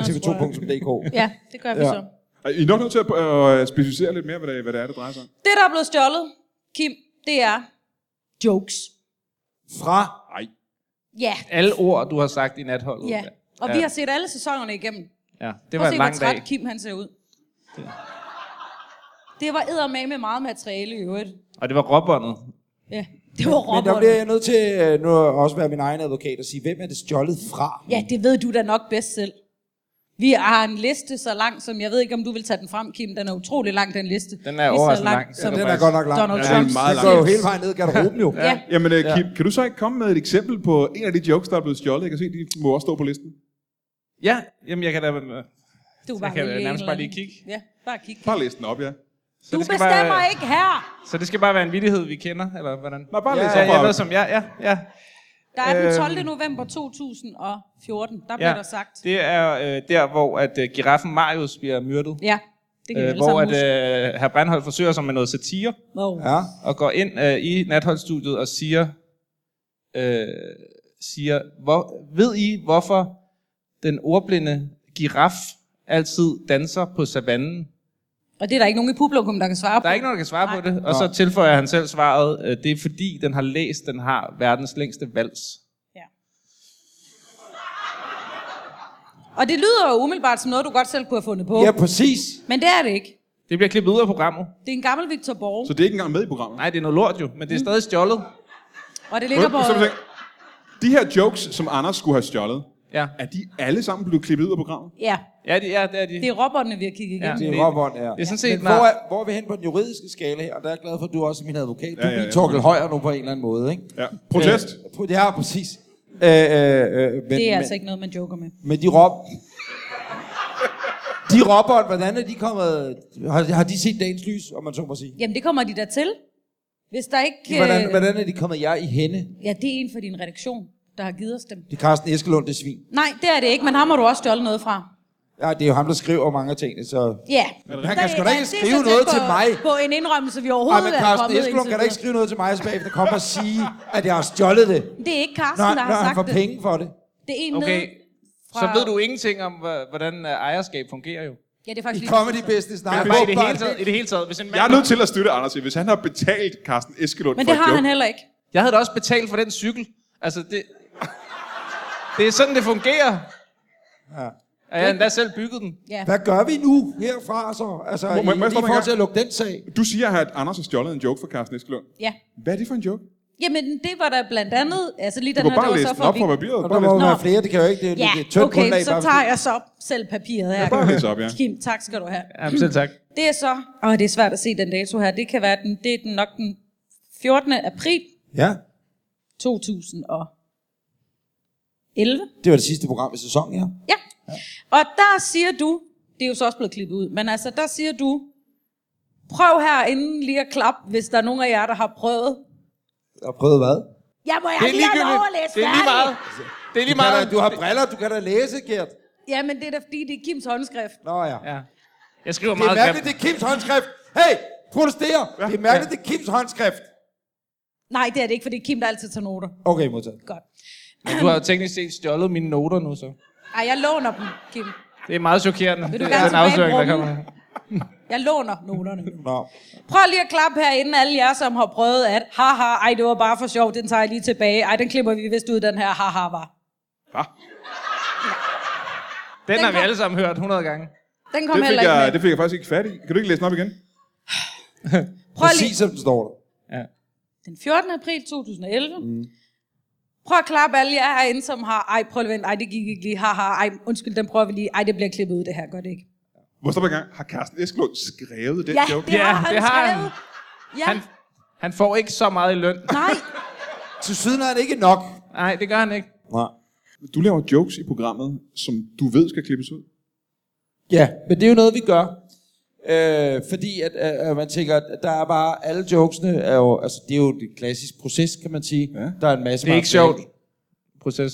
S3: senere, <laughs>
S2: tv2.dk.
S3: Ja, det gør vi
S2: Ja.
S3: ja. så.
S1: Ej, I er nok nødt til at øh, specificere lidt mere, hvad det, hvad det er, det drejer sig om.
S3: Det, der er blevet stjålet, Kim, det er jokes.
S2: Fra
S1: Nej.
S3: Ja,
S4: Alle ord, du har sagt i natholdet.
S3: ja. Og vi har set alle sæsonerne igennem.
S4: ja.
S3: Prøv
S4: Det var
S3: at
S4: en
S3: se,
S4: lang
S3: hvor
S4: dag.
S3: træt Kim han ser ud. Det var eddermame med meget materiale i øvrigt.
S4: Og det var råbåndet.
S3: Ja, det
S2: Men
S3: var
S2: der bliver
S3: robotten.
S2: jeg nødt til øh, nu at også være min egen advokat og sige, hvem er det stjålet fra?
S3: Ja, det ved du da nok bedst selv. Vi har en liste så lang, som jeg ved ikke, om du vil tage den frem, Kim. Den er utrolig lang, den liste.
S4: er
S3: Lige så
S4: overraskende lang.
S3: Som
S4: Ja,
S2: Den er godt nok lang.
S3: Donald
S1: Ja, den
S2: Ja,
S1: er
S3: Trumps
S1: meget
S2: den
S1: lang.
S2: går jo
S3: lips.
S2: hele vejen ned i garderoben jo.
S3: Ja.
S1: Jamen, øh, Kim, kan du så ikke komme med et eksempel på en af de jokes, der er blevet stjålet? Jeg kan se, de må også stå på listen.
S4: Ja, jamen jeg kan da...
S3: Du
S4: øh, kan jeg
S3: vælge
S4: nærmest
S3: en eller
S4: bare lige
S3: anden.
S4: kigge.
S3: Ja, bare kig.
S1: Bare læs den op, ja.
S4: Så
S3: Du
S4: det skal
S3: bestemmer
S4: bare,
S3: ikke her.
S4: Så det skal bare være en vittighed, vi kender, eller hvordan?
S1: Nej, bare
S4: ja,
S1: læs
S4: ja,
S1: op.
S4: jeg ved som, ja, ja, ja.
S3: Der er den
S4: Øhm.
S3: 12. november 2014, der bliver
S4: ja.
S3: der sagt.
S4: Det er øh, der, hvor at øh, giraffen Marius bliver myrdet.
S3: Ja, det kan vi
S4: Øh,
S3: alle
S4: hvor
S3: sammen
S4: at
S3: huske.
S4: øh, herr Brandholt forsøger sig med noget satire,
S3: Wow.
S2: Ja.
S4: og går ind øh, i natholdsstudiet og siger, øh, siger hvor, ved I, hvorfor den ordblinde giraf altid danser på savannen?
S3: Og det er der ikke nogen i publikum, der kan svare på.
S4: Der er ikke nogen, der kan svare
S3: Nej.
S4: Nej. på det. Og så tilføjer han selv svaret, øh, det er fordi, den har læst, den har verdens længste vals.
S3: Ja. Og det lyder jo umiddelbart som noget, du godt selv kunne have fundet på.
S2: ja, præcis.
S3: Men det er det ikke.
S4: Det bliver klippet ud af programmet.
S3: Det er en gammel Victor Borg,
S1: Så det er ikke engang med i programmet.
S4: Nej, det er noget lort jo, men det er
S3: Mm.
S4: stadig stjålet.
S3: og det ligger på...
S1: Så, så, så, de her jokes, som Anders skulle have stjålet,
S4: Ja,
S1: er de alle sammen blevet klippet ud af programmet?
S3: Ja,
S4: ja det, ja, det er de.
S3: det er robotterne, vi har kigget
S4: ja.
S3: igennem.
S2: Det er råbånd, ja.
S4: Det er sådan
S2: Men
S4: set,
S2: hvor
S4: når-
S2: er, hvor er vi hen på den juridiske skala her? Og der er jeg glad for, at du også er min advokat. Du
S1: Ja,
S2: ja,
S1: ja,
S2: ja,
S1: ja.
S2: ja. Torkel Højer nu på en eller anden måde, ikke?
S1: Ja. Protest.
S2: Øh, Ja, præcis. Øh, øh, øh, men,
S3: Det, det er
S2: men,
S3: altså ikke noget, man joker med.
S2: Men de råb... De råbånd, hvordan er de kommet... Har, har de set dagens lys, om man så må sige?
S3: Jamen, det kommer de der til. Hvis der ikke... øh,
S2: Hvordan, hvordan er de kommet jer i hende?
S3: Ja, det er en for din redaktion, der har givet os dem.
S2: Det er Carsten Eskelund, det svin.
S3: Nej, det er det ikke, men ham har du også stjålet noget fra.
S2: Ja, det er jo ham, der skriver mange af tingene, så...
S3: Ja.
S2: Han kan
S3: Så-
S2: sgu da ikke
S3: ja, det er
S2: skrive
S3: så tæt
S2: noget
S3: på,
S2: til mig.
S3: På en indrømmelse, vi
S2: Ej,
S3: overhovedet
S2: men
S3: er kommet
S2: Carsten
S3: indtil
S2: Eskelund kan da ikke
S3: videre.
S2: skrive noget til mig, og bagefter komme og sige, at jeg har stjålet det.
S3: Det er ikke Carsten,
S2: Når,
S3: der
S2: når
S3: har
S2: han
S3: sagt
S2: får
S3: det. Altså,
S2: penge for det.
S3: Det er en
S4: Okay,
S3: nede fra...
S4: så ved du ingenting om, hva- hvordan øh, ejerskab fungerer jo.
S3: Ja, det er faktisk...
S2: I
S3: lige-
S2: comedy business, nej.
S4: Ja, bare i det, hele
S2: åbenbart
S4: taget, i det hele taget. Hvis en mand
S1: Jeg er nødt til at støtte Anders, hvis han har betalt Carsten Eskelund
S3: Men
S1: for
S3: det
S1: et
S3: har
S1: joke.
S3: han heller ikke.
S4: Jeg havde da også betalt for den cykel. Altså, det, det er sådan, det fungerer.
S2: Ja.
S4: Og jeg har endda selv bygget den.
S3: Ja.
S2: Hvad gør vi nu herfra så? Altså, må,
S1: må jeg
S2: må, i, i
S1: stoppe en
S2: forhold
S1: gang?
S2: til at lukke den sag.
S1: Du siger, at Anders har stjålet en joke fra Carsten Eskelund.
S3: ja.
S1: Hvad er det for en joke?
S3: Jamen, det var der blandt andet... Altså, lige
S1: Du
S3: den
S1: kan
S3: her,
S1: bare
S3: det
S1: læse
S3: var så
S1: den
S3: for
S1: op på
S3: vildt.
S1: papiret.
S2: Og
S1: Bare
S2: der
S1: læs
S2: må jo
S1: den
S2: være
S1: op.
S2: flere, det kan jo ikke. Det er jo
S3: Ja,
S2: et tyndt
S3: okay,
S2: grundlag.
S3: så
S2: bare-
S3: tager jeg så selv papiret her.
S1: Bare læs op, ja.
S3: Kim, tak skal du have.
S4: Jamen, selv tak.
S3: Det er så... Åh, det er svært at se den dato her. Det kan være den... Det er den nok den 14. april
S2: Ja,
S3: 2011.
S2: det var det sidste program i sæsonen, ja.
S3: Ja. Og der siger du, det er jo så også blevet klippet ud, men altså der siger du, prøv herinde lige at klappe, hvis der er nogen af jer, der har prøvet.
S2: Og prøvet hvad?
S3: Ja, må jeg lige have lov at læse
S4: Det er
S3: færdigt?
S4: lige meget. Det er
S2: Du,
S4: lige
S2: kan
S4: meget.
S2: da, du har briller, du kan da læse, Gert.
S3: Ja, men det er da fordi, det er Kims håndskrift.
S2: Nå ja.
S4: Ja. Jeg skriver
S2: Det er
S4: meget
S2: mærkeligt, det
S4: grimt.
S2: er Kims håndskrift. Hey, protester. Det er mærkeligt, det er Kims håndskrift.
S3: Nej, det er det ikke, for det er Kim, der altid tager noter.
S2: Okay, modtaget.
S3: Godt.
S4: Men Du har jo teknisk set stjålet mine noter nu, så.
S3: Ej, jeg låner dem, Kim.
S4: Det er meget chokerende.
S3: Vil du
S4: Det
S3: gerne
S4: er en
S3: tilbage i
S4: afsløring, der kommer.
S3: rummet? Jeg låner noterne.
S2: Nå.
S3: Prøv lige at klappe herinde, alle jer, som har prøvet at, haha, ej, det var bare for sjov, den tager jeg lige tilbage. Ej, den klipper vi vist ud, den her, haha, var.
S1: Hva?
S4: Den har vi
S3: kom-
S4: alle sammen hørt 100 gange.
S3: Den kom
S1: Det
S3: heller
S1: fik,
S3: ikke
S1: jeg,
S3: med.
S1: det fik jeg faktisk ikke fat i. Kan du ikke læse den op igen?
S3: Prøv lige,
S2: Præcis som den står der.
S4: Ja.
S3: den 14. april 2011. Mm. Prøv at klappe alle jer herinde, som har, ej, prøv lige at vente, ej, det gik ikke lige, haha, ej, undskyld, den prøver vi lige, ej, det bliver klippet ud, det her, gør det ikke?
S1: Hvor står gang? Har Carsten Eskelund skrevet den
S3: Ja,
S1: joke?
S3: det
S4: Ja,
S3: har han
S4: det har han.
S3: skrevet. Ja,
S4: Han, han får ikke så meget i løn.
S3: nej,
S2: Til syden er det ikke nok.
S4: Nej, det gør han ikke.
S2: Nej.
S1: Du laver jokes i programmet, som du ved skal klippes ud.
S2: Ja, men det er jo noget, vi gør. Øh, fordi at, øh, øh, man tænker, at der er bare, alle jokesene er jo, altså det er jo et klassisk proces, kan man sige.
S1: Ja.
S2: Der er en masse
S4: Det er ikke
S2: materiale.
S4: sjovt. Proces.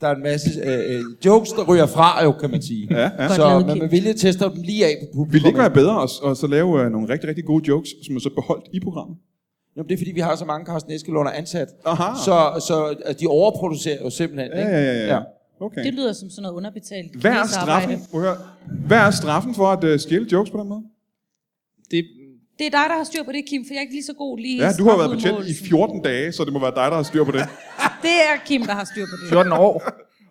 S2: Der er en masse øh, øh, jokes, der ryger fra jo, kan man sige.
S1: Ja, ja.
S3: Godt
S2: Så
S3: lavet,
S2: man
S3: Kim.
S2: med vilje tester dem lige af på publikum.
S1: Vil det ikke være bedre at, at så lave øh, nogle rigtig, rigtig gode jokes, som er så beholdt i programmet?
S2: Jamen, det er fordi, vi har så mange Carsten Eskelund ansat.
S1: Aha.
S2: Så, så at de overproducerer jo simpelthen.
S1: Ja,
S2: ikke?
S1: ja, ja. ja. Okay.
S3: det lyder som sådan noget underbetalt.
S1: Hvad er
S3: knæsarbejde.
S1: straffen? Prøv at høre. Hvad er straffen for at øh, stjæle jokes på den måde?
S4: Det,
S3: Det er dig, der har styr på det, Kim, for jeg er ikke lige så god lige i
S1: Ja, du har været betjent i
S3: strafudmålelsen.
S1: 14 dage, så det må være dig, der har styr på det.
S3: Det er Kim, der har styr på det.
S4: 14 år.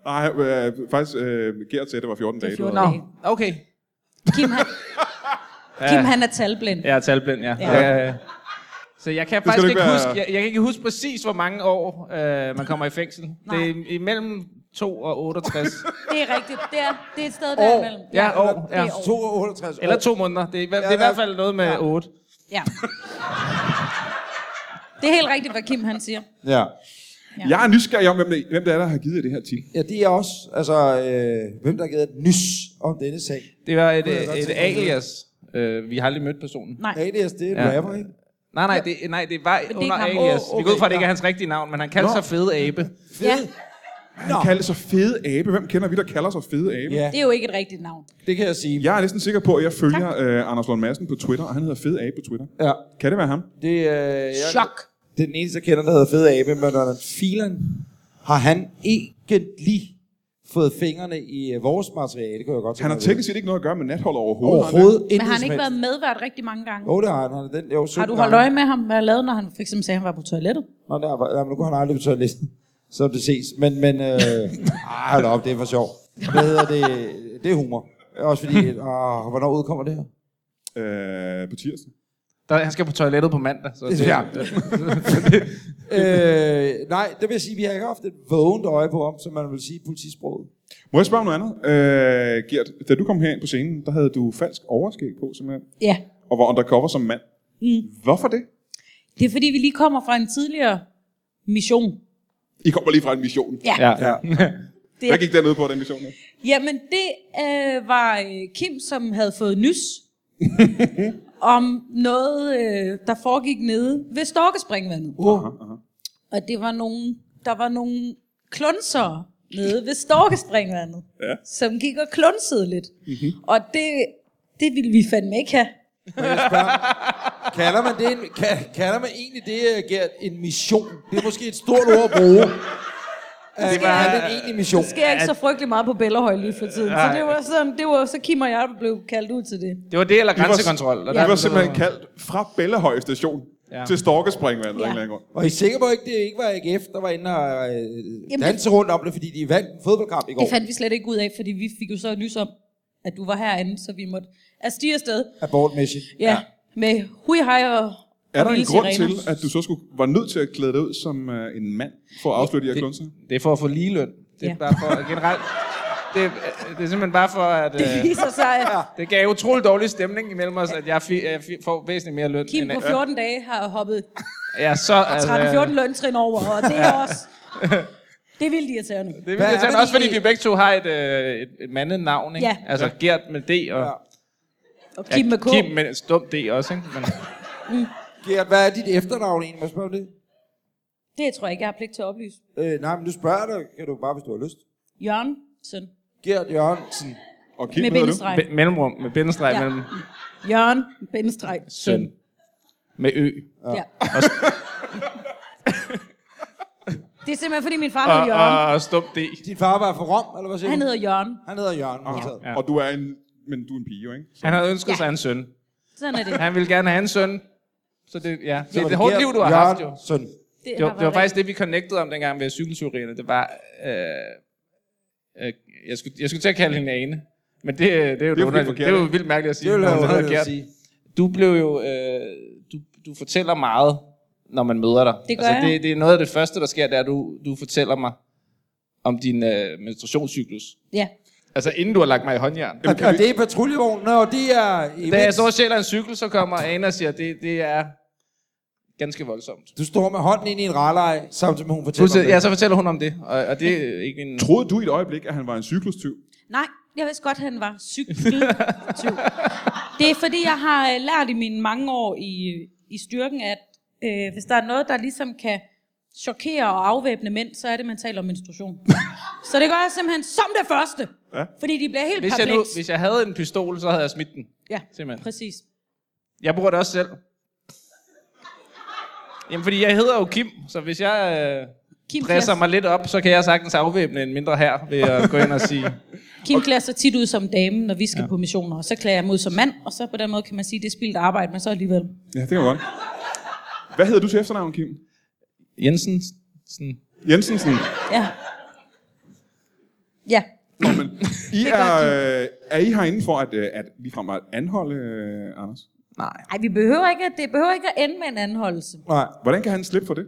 S1: Nej, øh, faktisk, øh, Gert sagde, at det var 14 dage.
S3: Det er
S1: du havde
S3: 14 dage.
S4: Okay.
S3: Kim, han, Kim, han er talblind.
S4: Jeg er talblind, ja.
S3: Ja.
S4: ja. Jeg, så jeg kan faktisk
S1: du
S4: ikke
S1: ikke være-
S4: huske, jeg, jeg kan ikke huske præcis, hvor mange år øh, man kommer i fængsel. Det er imellem 2 og 68.
S3: Det er rigtigt. Det er, det er et sted
S2: År.
S3: derimellem.
S4: ja, år.
S3: Det
S4: Ja.
S3: er år.
S2: 268
S4: Eller to måneder. Det er, i hver- det er
S2: Ja,
S4: i hvert fald noget med 8.
S3: Ja. Det er helt rigtigt, hvad Kim han siger.
S2: Ja.
S1: Ja. Jeg er nysgerrig om, hvem det, hvem det er, der har givet jer det her tip.
S2: Ja, det er jeg også. Altså, øh, hvem der har givet et nys om denne sag?
S4: Det var et,
S2: Kunne jeg godt
S4: et, et
S2: tænke mig at vide.
S4: alias. Øh, vi har aldrig mødt personen.
S3: Nej.
S2: Alias, det er
S4: Ja.
S2: ja. rapper, ikke?
S4: Nej, nej, det, nej, det var
S3: er
S4: under
S3: ikke ham.
S4: alias.
S2: Åh,
S4: Vi går ud fra,
S2: okay,
S4: at det ikke er hans rigtige navn, men han kaldte sig Fede Abe.
S3: Ja,
S1: Han kalder sig fede abe. Hvem kender vi, der kalder sig fede abe?
S2: Ja,
S3: det er jo ikke et rigtigt navn.
S2: det kan jeg sige.
S1: Jeg er næsten sikker på, at jeg følger øh, Anders Lund Madsen på Twitter, og han hedder fede abe på Twitter.
S2: ja.
S1: Kan det være ham?
S2: Det, øh, jeg,
S3: Chok.
S2: Det er den eneste, jeg kender, der hedder Fede Abe, men når filen har han egentlig fået fingrene i øh, vores materiale, det kunne jeg godt tænke
S1: Han har
S2: mig at vide.
S1: teknisk set ikke noget at gøre med natholdet overhovedet. har han
S2: Overhovedet intet
S3: Men har han
S2: som
S3: ikke
S2: helst.
S3: været medvært rigtig mange gange?
S2: Jo, det har han. han er den, jo,
S3: Har
S2: 17
S3: du holdt
S2: gange.
S3: øje med ham, hvad han lavede, når han for eksempel sagde, at han var på toilettet?
S2: Nå, der var, jamen, nu kunne han aldrig på toilettet, som det ses. Men, men øh, ah, hold op, det er for sjov. Hvad hedder det? Det er humor. Også <laughs> fordi, ah, hvornår udkommer det her?
S1: det? Øh, på tirsdag.
S4: Der, han skal på toilettet på mandag. Så det,
S2: Ja.
S4: ja.
S2: øh, nej, det vil jeg sige, vi har ikke haft et vågent øje på ham, som man vil sige i politisproget.
S1: Må jeg spørge om noget andet? Øh, Gert, da du kom herind på scenen, der havde du falsk overskæg på, simpelthen,
S3: Ja.
S1: og var undercover som mand.
S3: Mm.
S1: Hvorfor det?
S3: Det er fordi, vi lige kommer fra en tidligere mission.
S1: I kommer lige fra en mission.
S3: Ja.
S4: ja.
S2: Ja.
S3: Det
S1: Hvad gik dernede på den mission? her?
S3: Jamen, det øh, var øh, Kim, som havde fået nys om noget, øh, der foregik nede ved Storkespringvandet.
S2: Uh,
S1: Aha, aha.
S3: Og det var nogen, der var nogle klunser nede ved Storkespringvandet,
S1: Ja.
S3: som gik og klunsede lidt. Mm-hmm. Og det, det ville vi fandme ikke have.
S2: kalder, man det en, kan, kalder man egentlig det, øh, Gert, en mission? Det er måske et stort ord at bruge. Det var
S4: var-
S2: en egentlig mission.
S3: Det sker ikke så frygtelig meget på Bellerhøj lige for tiden. Så det var, sådan, det var så Kim og jeg, der blev kaldt ud til det.
S4: det var det, eller
S1: var-
S4: grænsekontrol. Og
S1: Vi
S4: der-
S1: var simpelthen kaldt fra Bellehøj station
S4: Ja.
S1: til Storkespringvandet.
S3: Ja.
S1: Ja. Grund.
S2: Og I er sikre på, at det ikke var AGF, der var inde og øh,
S3: Jamen,
S2: danse rundt om det, fordi de vandt en fodboldkamp i går
S3: Det fandt vi slet ikke ud af, fordi vi fik jo så nys om, at du var herinde, så vi måtte at stige afsted.
S2: af Bournemouth.
S3: Ja, ja. med hui hej og
S1: Er der
S3: og
S1: en
S3: vilde
S1: grund til,
S3: sirener.
S1: at du så skulle, var nødt til at klæde dig ud som øh, en mand for at afsløre de her klunser?
S4: Det er for at få ligeløn. Det er
S3: Ja.
S4: bare for generelt. Det, det er simpelthen bare for, at...
S3: Det <laughs>
S4: Øh,
S3: viser sig, at
S4: det gav utrolig dårlig stemning imellem os, at jeg, fi, jeg fi, får væsentligt mere løn.
S3: Kim på
S4: at-
S3: 14 dage har hoppet
S4: øh, Ja, så... Altså,
S3: 13-14 løntrin over, og det er også... Det er vildt irriterende.
S4: Det er
S2: Hvad er det
S4: vildt er altså, også fordi, vi
S2: egentlig?
S4: begge to har et, øh, et, et mandenavn, ikke?
S3: Ja.
S4: Altså Gert med D og...
S2: Ja.
S3: Og Kim med K.
S4: Kim med et stumt D også, ikke? Men,
S2: Gert, hvad er dit efternavn egentlig? Må jeg spørge om det?
S3: Det tror jeg ikke, jeg har pligt til at oplyse.
S2: Øh, nej, men du spørger jeg dig, kan du bare, hvis du har lyst.
S3: Jørgen, søn.
S2: Gert Jørgensen.
S1: Og Kim,
S3: Med
S1: hedder du?
S3: bindestreg.
S4: Be- mellemrum med bindestreg
S3: Ja.
S4: ja. mellem
S3: Jørgen, bindestreg, søn.
S4: søn. Med ø.
S3: Ja. Det er simpelthen, fordi min far
S4: Og,
S3: hedder Jørgen.
S4: og, og stum D.
S2: Din far var fra Rom, eller hvad siger
S3: Han
S2: du?
S3: hedder Jørgen.
S2: Han hedder Jørgen. altså. modtaget.
S1: Og du er en, men du er en pige, jo, ikke?
S4: Han havde ønsket
S3: Ja.
S4: ja. sig en søn.
S3: Sådan er det.
S4: Han ville gerne have en søn. Så det, ja.
S2: Så
S4: det er
S2: var
S4: et hårdt
S2: Gert
S4: liv, du har haft, jo.
S2: Jørgensen.
S3: Det,
S4: Det
S3: har
S4: var, det var
S3: været
S4: faktisk det, vi connectede om dengang med cykeltyverierne. Det var... Øh, øh, jeg, skulle, jeg skulle til at kalde hende Ane. Men det, det er jo
S1: Det er jo
S4: det, underligt.
S1: forkert,
S4: det er jo
S1: ikke?
S4: vildt mærkeligt at sige.
S2: Det vil
S4: når
S2: jeg
S4: hun
S2: jo
S4: hedder
S2: hellere
S4: Gert.
S2: sige.
S4: Du blev jo... Øh, du, du fortæller meget, når man møder dig.
S3: Det gør
S4: altså,
S3: jeg.
S4: det, det er noget af det første, der sker, det er, at du, du fortæller mig om din øh, menstruationscyklus.
S3: Ja.
S4: Altså, inden du har lagt mig i håndjern.
S2: Og, og det er patruljevognene, og det er...
S4: Da jeg så sjæler en cykel, så kommer Ana og siger, det, det er ganske voldsomt.
S2: Du står med hånden ind i en rarleje, samtidig med hun fortæller om
S4: Pludselig,
S2: det.
S4: ja, så fortæller hun om det, og, og det er ikke en...
S1: Troede du i et øjeblik, at han var en cyklustyv?
S3: Nej, jeg vidste godt, at han
S4: <laughs>
S3: var cykeltyv. det er fordi, jeg har øh, lært i mine mange år i, øh, i styrken, at øh, hvis der er noget, der ligesom kan chokere og afvæbne mænd, så er det, man taler om
S4: <laughs>
S3: menstruation. så det gør jeg simpelthen som det første.
S1: Ja.
S3: Fordi de bliver helt
S4: Hvis jeg, nu,
S3: perpleks.
S4: hvis jeg havde en pistol, så havde jeg smidt den.
S3: Ja,
S4: Simpelthen.
S3: præcis.
S4: Jeg bruger det også selv. Jamen, fordi jeg hedder jo Kim, så hvis jeg øh,
S3: Kim
S4: presser
S3: klæder,
S4: mig lidt op, så kan jeg sagtens afvæbne en mindre her ved at gå ind og sige...
S3: Kim klæder sig tit ud som dame, når vi skal ja. på missioner, og så klæder jeg mig ud som mand, og så på den måde kan man sige, at det er spildt arbejde, men så alligevel.
S1: Ja, det kan jeg godt. Hvad hedder du til efternavn, Kim?
S4: Jensen, sådan,
S1: Jensensen.
S3: Ja. Ja.
S1: Nå, men I
S3: er
S1: er,
S3: godt,
S1: øh, er I herinde for at, øh, at ligefrem at anholde øh, Anders?
S4: nej.
S3: Ej, vi behøver ikke, at- det behøver ikke at ende med en anholdelse.
S2: Nej.
S1: Hvordan kan han slippe for det?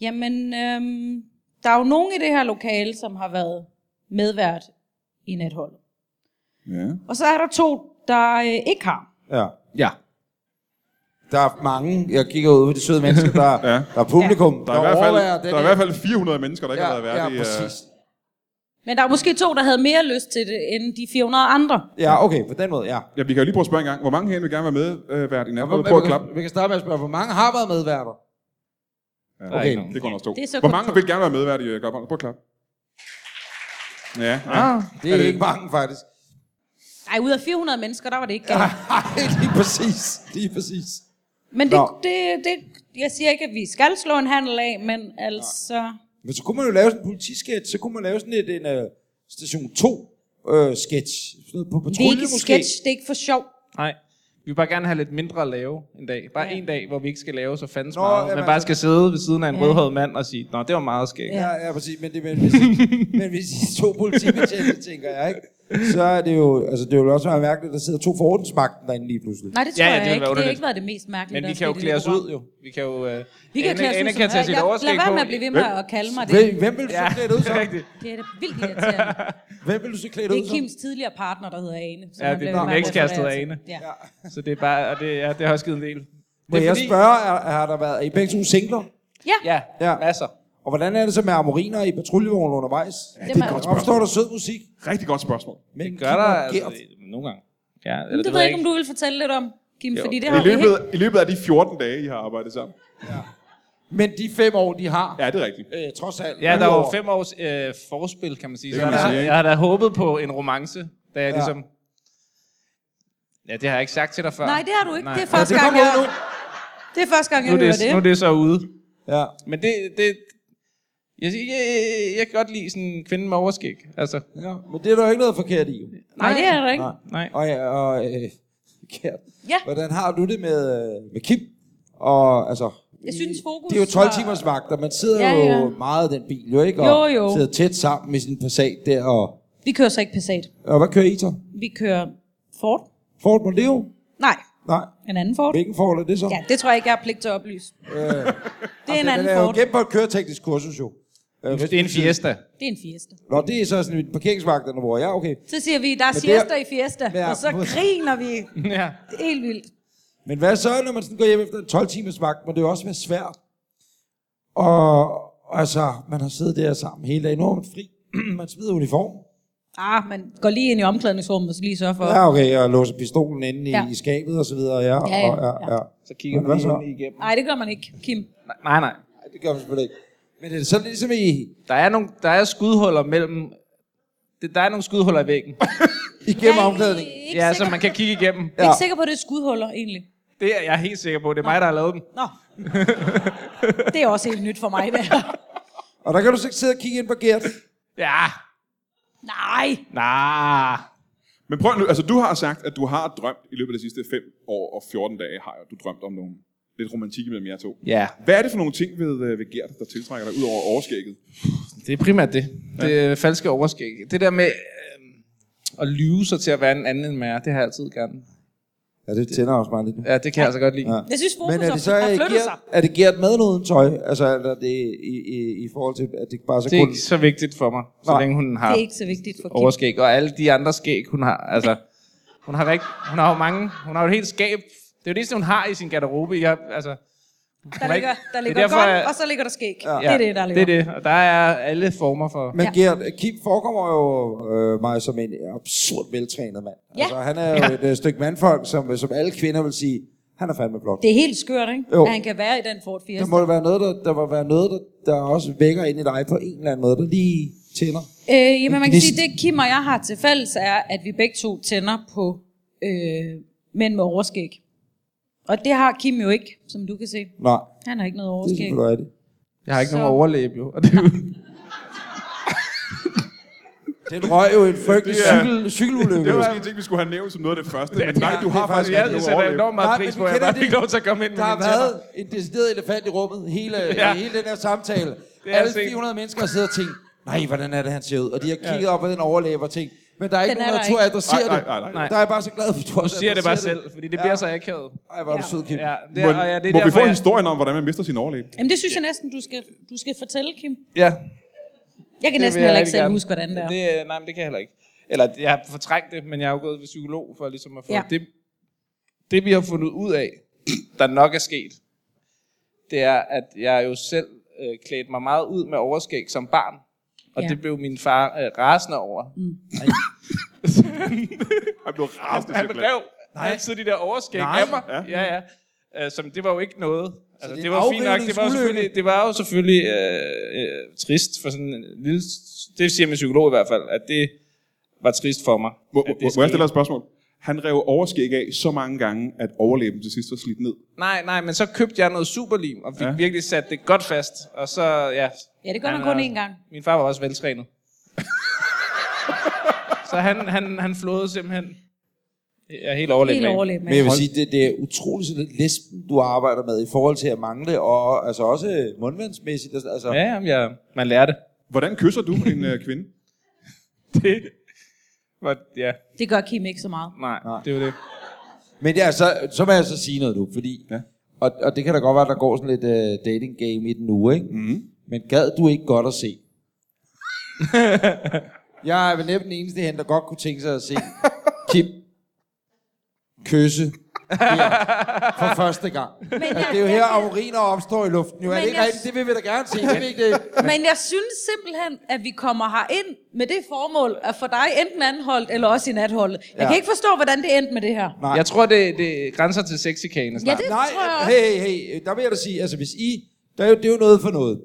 S3: Jamen, øhm, der er jo nogen i det her lokale, som har været medvært i netholdet.
S1: Ja.
S3: Og så er der to, der øh, ikke har.
S2: Ja.
S4: Ja.
S2: Der er mange, jeg kigger ud på de søde mennesker, der, ja. der er publikum.
S1: Der er, i hvert fald,
S2: overværer den
S1: der er i
S2: her-
S1: hvert fald 400 mennesker, der ikke
S2: ja,
S1: har været værd
S2: ja,
S1: i... øh,
S2: præcis.
S3: Men der er måske to, der havde mere lyst til det, end de 400 andre.
S2: Ja, okay, på den måde, ja.
S1: Ja, vi kan jo lige prøve at spørge en gang. Hvor mange herinde vil gerne være med øh, vært i nat?
S2: Hvor,
S1: Prøv at
S2: vi,
S1: klappe.
S2: kan, vi kan starte med at spørge, hvor mange har været medværter?
S4: Der er
S2: Okay.
S4: ikke nogen.
S1: Det går nok stå.
S3: Det er så
S1: Hvor
S3: kun
S1: mange
S3: to.
S1: vil gerne være med vært i øh, Godhavn? Prøv at klappe. Ja, ja.
S4: Ah,
S2: Det er, er det... ikke mange, faktisk.
S3: Nej, ud af 400 mennesker, der var det ikke
S2: Ah.
S3: galt.
S2: Nej, <laughs> lige præcis. Lige præcis.
S3: Men det,
S2: Nå.
S3: det, det, jeg siger ikke, at vi skal slå en handel af, men altså...
S2: Men så kunne man jo lave sådan en politisketch, så kunne man lave sådan et, en uh, station 2 uh, sketch. Sådan noget på
S3: Det er
S2: patrulje
S3: ikke
S2: måske.
S3: sketch, det er ikke for sjov.
S4: nej. Vi vil bare gerne have lidt mindre at lave en dag. Bare
S3: Ja.
S4: en dag, hvor vi ikke skal lave så fandens
S2: Nå,
S4: meget.
S2: jamen
S4: Men bare
S2: altså-
S4: skal sidde ved siden af en
S3: Ja.
S4: rødhåret mand og sige, Nå, det var meget skægt.
S2: Ja, ja, præcis. Men, det, men, hvis, <laughs> men hvis de to politibetjente, tænker jeg, ikke? så er det jo, altså det vil også være mærkeligt, at der sidder to for ordensmagten derinde lige pludselig.
S3: Nej, det tror
S4: Ja, ja,
S3: jeg
S4: det ville
S3: ikke. Det
S4: være
S3: har
S4: underligt.
S3: ikke været det mest mærkelige,
S4: Men vi
S3: der er
S4: kan jo
S3: sket i
S4: klæde
S3: det
S4: os
S3: program.
S4: ud, jo. Vi kan jo... Øh,
S3: Vi kan
S4: Anne-
S3: klæde os
S4: Anne
S3: ud,
S4: kan
S3: som
S4: tage
S3: det
S4: sit
S3: er. Lad-
S4: overskæg
S3: Lad være
S4: på.
S3: med at blive ved med at kalde mig det.
S2: Hvem, hvem vil du
S4: Ja,
S2: så klæde det ud
S4: det
S2: som?
S4: er rigtigt.
S3: Det er da vildt
S2: <laughs>
S3: irriterende.
S2: Hvem vil du så klæde det
S3: Det
S2: ud
S3: er
S2: som?
S3: Kims tidligere partner, der hedder Ane. som
S4: Ja,
S3: han
S4: det
S3: blev
S4: er
S3: ved
S4: den
S3: med at
S4: ekskæreste
S3: referere
S4: Ane.
S3: til. Ja.
S4: Så det er bare... Og det, ja, det har også givet en del.
S2: Må jeg spørge, er, har der været, er I begge to singler?
S3: ja.
S4: Ja,
S2: Ja.
S4: ja, masser.
S2: Og hvordan er det så med amoriner i patruljevognen undervejs? Ja,
S3: det er et godt
S1: spørgsmål.
S2: Opstår der sød musik?
S1: Rigtig godt spørgsmål.
S2: Men
S4: Det gør der altså, nogle gange. Ja, eller
S3: Men det ved jeg ikke, om du vil fortælle lidt om, Kim,
S4: Jo.
S3: fordi det
S1: I
S3: har vi
S1: løbet,
S3: ikke.
S1: I løbet af de 14 dage, I har arbejdet sammen.
S2: Men de fem år, de har,
S1: Ja, det er rigtigt.
S2: øh, trods alt...
S4: Ja, der er jo
S2: år.
S4: fem års øh, forspil, kan man sige.
S1: Det
S4: Så
S1: kan
S4: jeg,
S1: man
S4: har,
S1: sige, ikke?
S4: jeg har da håbet på en romance, da jeg
S2: Ja.
S4: ja. ligesom... Ja, det har jeg ikke sagt til dig før.
S3: Nej, det har du ikke. Det er
S4: for...
S2: Ja,
S3: første
S2: det
S3: gang,
S2: kommer
S3: jeg,
S2: ud nu.
S3: det er første gang, jeg
S4: Nu er
S3: hører
S4: det, nu er
S3: det.
S4: det så ude.
S2: Ja.
S4: Men det... det jeg, siger, jeg, jeg, jeg kan godt lide sådan en kvinde med overskæg. Altså,
S2: ja. Men det er der jo ikke noget forkert i. jo.
S3: Nej, det er det ikke.
S2: Nej.
S4: nej.
S2: Og, ja, og øh, Kjær,
S3: Ja.
S2: hvordan har du det med, øh, med Kim? Og altså...
S3: Jeg synes, fokus
S2: Det er jo 12
S3: var-
S2: timers vagter. Man sidder
S3: Ja,
S2: ja,
S3: ja.
S2: ja. jo meget i den bil, jo ikke?
S3: Jo,
S2: Og
S3: jo.
S2: sidder tæt sammen med sin Passat der. Og,
S3: Vi kører så ikke Passat.
S2: og hvad kører I så?
S3: Vi kører Ford.
S2: Ford Mondeo?
S3: Nej,
S2: Nej.
S3: en anden Ford.
S2: Hvilken Ford er det så?
S3: Ja, det tror jeg ikke, jeg har pligt til at oplyse. <laughs> Det er en
S2: Øh. Den
S3: anden
S2: er jo
S3: Ford.
S2: gennem på et køreteknisk kursus jo. Øh,
S4: Det er en fiesta.
S3: Det er en Fiesta.
S2: Nå, det er så sådan et parkeringsvagterne, hvor jeg, okay.
S3: Så siger vi, der er
S2: det er-
S3: siesta i Fiesta,
S2: Ja,
S3: og så
S2: mod-
S3: griner vi.
S4: <laughs> ja.
S3: Det er helt vildt.
S2: Men hvad så, når man sådan går hjem efter en 12 timers vagt, må det jo også være svært. Og altså, man har siddet der sammen hele dagen, nu er man fri, <clears throat> man smider uniform.
S3: Ah, man går lige ind i omklædningsrummet, og så lige sørger for.
S2: Ja, okay, og låser pistolen inde i,
S3: Ja.
S2: ja. i skabet og så videre, ja.
S3: ja,
S2: og, ja,
S3: ja.
S2: ja.
S4: Så kigger
S2: Hvad
S4: man
S2: så?
S4: lige igennem.
S3: Nej, det gør man ikke, Kim.
S4: Nej, nej.
S2: Nej, det gør man selvfølgelig ikke. Men det er sådan ligesom i,
S4: Der er, nogle, der er skudhuller mellem... Det, der er nogle skudhuller i væggen.
S2: igennem
S3: Jeg er
S2: omklædning.
S3: Ikke,
S4: ja,
S3: ja,
S4: som
S3: sikker,
S4: man kan kigge igennem.
S3: ja. ikke sikker på, at det er skudhuller, egentlig.
S4: Det er jeg helt sikker på. Det er mig, der har lavet dem.
S3: Nå.
S4: <laughs>
S3: det er også helt nyt for mig, det her.
S2: Og der kan du så ikke sidde og kigge ind på Gert.
S4: Ja.
S3: Nej.
S4: Nah.
S1: Men prøv nu, altså du har sagt, at du har drømt i løbet af de sidste 5 år og 14 dage, har du drømt om nogle lidt romantik mellem jer to.
S4: Ja,
S1: Hvad er det for nogle ting ved, øh, ved Gert, der tiltrækker dig, ud over overskægget?
S4: det er primært det. Ja. Det er falske overskæg. Det der med øh, at lyve sig til at være en anden end man er, det har jeg altid gerne.
S2: Ja, det tænder også meget lidt.
S4: Ja, det kan jeg altså godt lide. Ja.
S2: Ja.
S3: Jeg synes, fokus
S2: Men er det så
S3: har
S2: er
S3: flyttet sig.
S2: Gert, er det Gert med eller uden tøj? Altså er der det i, i, i forhold til, at det bare så
S4: Det er
S2: kun...
S4: ikke så vigtigt for mig, så
S2: Nej.
S4: længe hun
S3: Det
S4: har
S3: er ikke så vigtigt for Kim.
S4: overskæg. Og alle de andre skæg, hun har. Altså, hun har, rigt, hun har jo mange. Hun har jo et helt skab. Det er jo det, eneste, hun har i sin garderobe. Jeg, altså,
S3: Der
S4: er
S3: ligger,
S4: ikke-
S3: der
S4: det er
S3: ligger
S4: derfor,
S3: godt,
S4: jeg-
S3: og så ligger der skæg. Ja.
S2: Ja.
S3: Det er det, der ligger.
S4: Det er det. Og der er alle former for...
S2: Men
S3: Ja.
S2: ja. Gert, Kim forekommer jo øh, mig som en absurd veltrænet mand.
S3: Ja.
S2: Altså, han er jo et øh, stykke mandfolk, som, som alle kvinder vil sige, han er fandme blot.
S3: Det er helt skørt, ikke?
S2: Jo.
S3: At han kan være i den Ford
S2: Der
S3: Fiesta.
S2: må jo være noget, der, der må være noget, der, der også vækker ind i dig på en eller anden måde, der lige tænder.
S3: Øh, jamen, man kan
S2: Det-
S3: sige, det Kim og jeg har til fælles er, at vi begge to tænder på øh, mænd med overskæg. Og det har Kim jo ikke, som du kan se.
S2: Nej,
S3: Han har ikke noget
S2: det er
S3: overskæg.
S2: selvfølgelig rigtigt.
S4: Jeg har ikke
S3: Så-
S4: nogen overlæb, jo. Og det er jo
S2: Den røg jo en frygtelig
S1: Det er-
S2: cykel, cykelulykke.
S1: Det var måske en ting, vi skulle have nævnt som noget af det første, men nej, du
S2: det
S1: har
S2: er
S1: faktisk
S2: faktisk-
S1: ikke
S4: jeg
S1: noget
S4: sætter
S1: overleve.
S4: enormt meget
S2: Nej,
S4: pris
S2: men
S4: på,
S2: vi
S4: at jeg
S2: kender
S4: bare
S2: det.
S4: fik lov til at komme ind med
S2: Der har
S4: mine tænder.
S2: været en decideret elefant i rummet hele, ja.
S4: <laughs> Ja.
S2: hele den her samtale.
S4: <laughs> Det er
S2: Alle
S4: set.
S2: 400 mennesker har siddet og tænkt, nej, hvordan er det, han ser ud? Og de har kigget ja. op på den overlæbe og tænkt, men der er ikke
S3: Den er
S2: nogen, der
S3: der
S2: tør adressere
S1: Nej, nej,
S2: det.
S1: nej, nej.
S4: Nej.
S2: Der er jeg bare så glad for, at du
S4: Du
S2: også
S4: siger det bare
S2: adresserer
S4: selv, fordi det bliver så akavet.
S2: Ej, hvor er du sød, Kim.
S4: Ja, det
S1: Må,
S4: er, og ja, det er
S1: må vi
S4: derfor,
S1: få
S4: jeg-
S1: historien om, hvordan man mister sin overlæb?
S3: Jamen, det synes jeg næsten, du skal, du skal fortælle, Kim.
S4: Ja,
S3: Jeg kan næsten
S4: det vil jeg
S3: heller ikke
S4: rigtig
S3: selv
S4: gerne.
S3: huske, hvordan det er.
S4: det. øh, Nej, men det kan jeg heller ikke. Eller jeg har fortrængt det, men jeg er jo gået ved psykolog for ligesom at få
S3: Ja.
S4: det. Det vi har fundet ud af, <clears throat> der nok er sket, det er, at jeg jo selv øh, klædte mig meget ud med overskæg som barn. Og
S3: Ja.
S4: ja. det blev min far øh, rasende over. Mm.
S1: Han blev rasende
S4: Han
S1: simpelthen.
S4: rev altid de der overskæg
S2: Nej.
S4: af mig. Ja, ja. ja. Som, det var jo ikke noget. Altså,
S2: det er
S4: det,
S2: en
S4: det var fint nok. Det var, jo
S2: afrivningsulykke.
S4: selvfølgelig, det var jo selvfølgelig øh, øh, trist for sådan en lille... Det siger min psykolog i hvert fald, at det var trist for mig.
S1: Må,
S4: at det
S1: må, må jeg
S4: skete.
S1: stille dig et spørgsmål? Han rev overskæg af så mange gange, at overlæben til sidst var slidt ned.
S4: Nej, nej, men så købte jeg noget superlim, og fik
S1: Ja.
S4: ja. virkelig sat det godt fast. Og så, ja...
S3: Ja, det gør
S4: Han
S3: man
S4: er
S3: kun
S4: også-
S3: én gang.
S4: Min far var også veltrænet. <laughs> så han, han, han flåede simpelthen... Jeg er helt overlevet.
S3: Helt overlevet,
S2: Men jeg
S3: mand.
S2: vil sige, det, det er utroligt sådan lidt lesben, du arbejder med i forhold til at mangle, og altså også øh, mundvandsmæssigt. Altså, altså,
S4: Ja, jamen, jeg, man lærer det.
S1: Hvordan kysser du en øh, kvinde?
S4: Det var, ja,
S3: Det gør Kim ikke så meget.
S4: nej,
S2: Nej.
S4: nej. det var det.
S2: Men ja, så, så vil jeg så sige noget nu, fordi...
S1: Ja.
S2: Ja. Og, og det kan da godt være, at der går sådan lidt uh, dating game i den uge, ikke? Mm. Men gad du ikke godt at se? jeg er vel næppe den eneste hen, der godt kunne tænke sig at se Kim kysse her for første gang. Men altså, det er jo her, auriner opstår i luften. Jo, er
S3: Men
S2: det ikke
S3: jeg-
S2: rigtigt? Det vil vi da gerne se. Det vil ikke det.
S3: Men jeg synes simpelthen, at vi kommer her ind med det formål at få dig enten anholdt eller også i natholdet. Jeg
S2: Ja.
S3: kan ikke forstå, hvordan det endte med det her.
S2: Nej.
S4: Jeg tror, det, det grænser til sexikane snart.
S3: Ja, det
S2: Nej,
S3: tror jeg også.
S2: hey, hey, hey, der vil jeg da sige, altså hvis I, der er jo, det er jo noget for noget.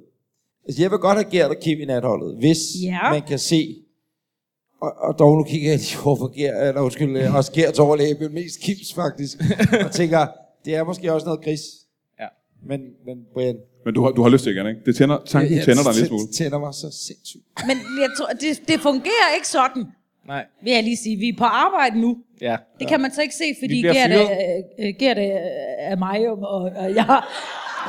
S2: Altså jeg vil godt have Gert og Kim i natholdet, hvis
S3: Ja.
S2: man kan se, og, og dog nu kigger jeg lige over for Gert, eller undskyld, øh, også Gerts overlæge, men mest Kims faktisk, og tænker, det er måske også noget gris,
S4: Ja.
S2: men, men Brian,
S1: Men du har, du har lyst til igen, ikke? Det tænder, tanken tænder dig en lille smule.
S2: tænder mig så sindssygt.
S3: Men jeg tror, det, det fungerer ikke sådan,
S4: Nej,
S3: vil jeg lige sige. Vi er på arbejde nu.
S4: ja.
S3: Det kan man så ikke se, fordi
S4: bliver
S3: Gert er,
S4: fyret.
S3: øh, Gert er, er mig, og, og, og jeg...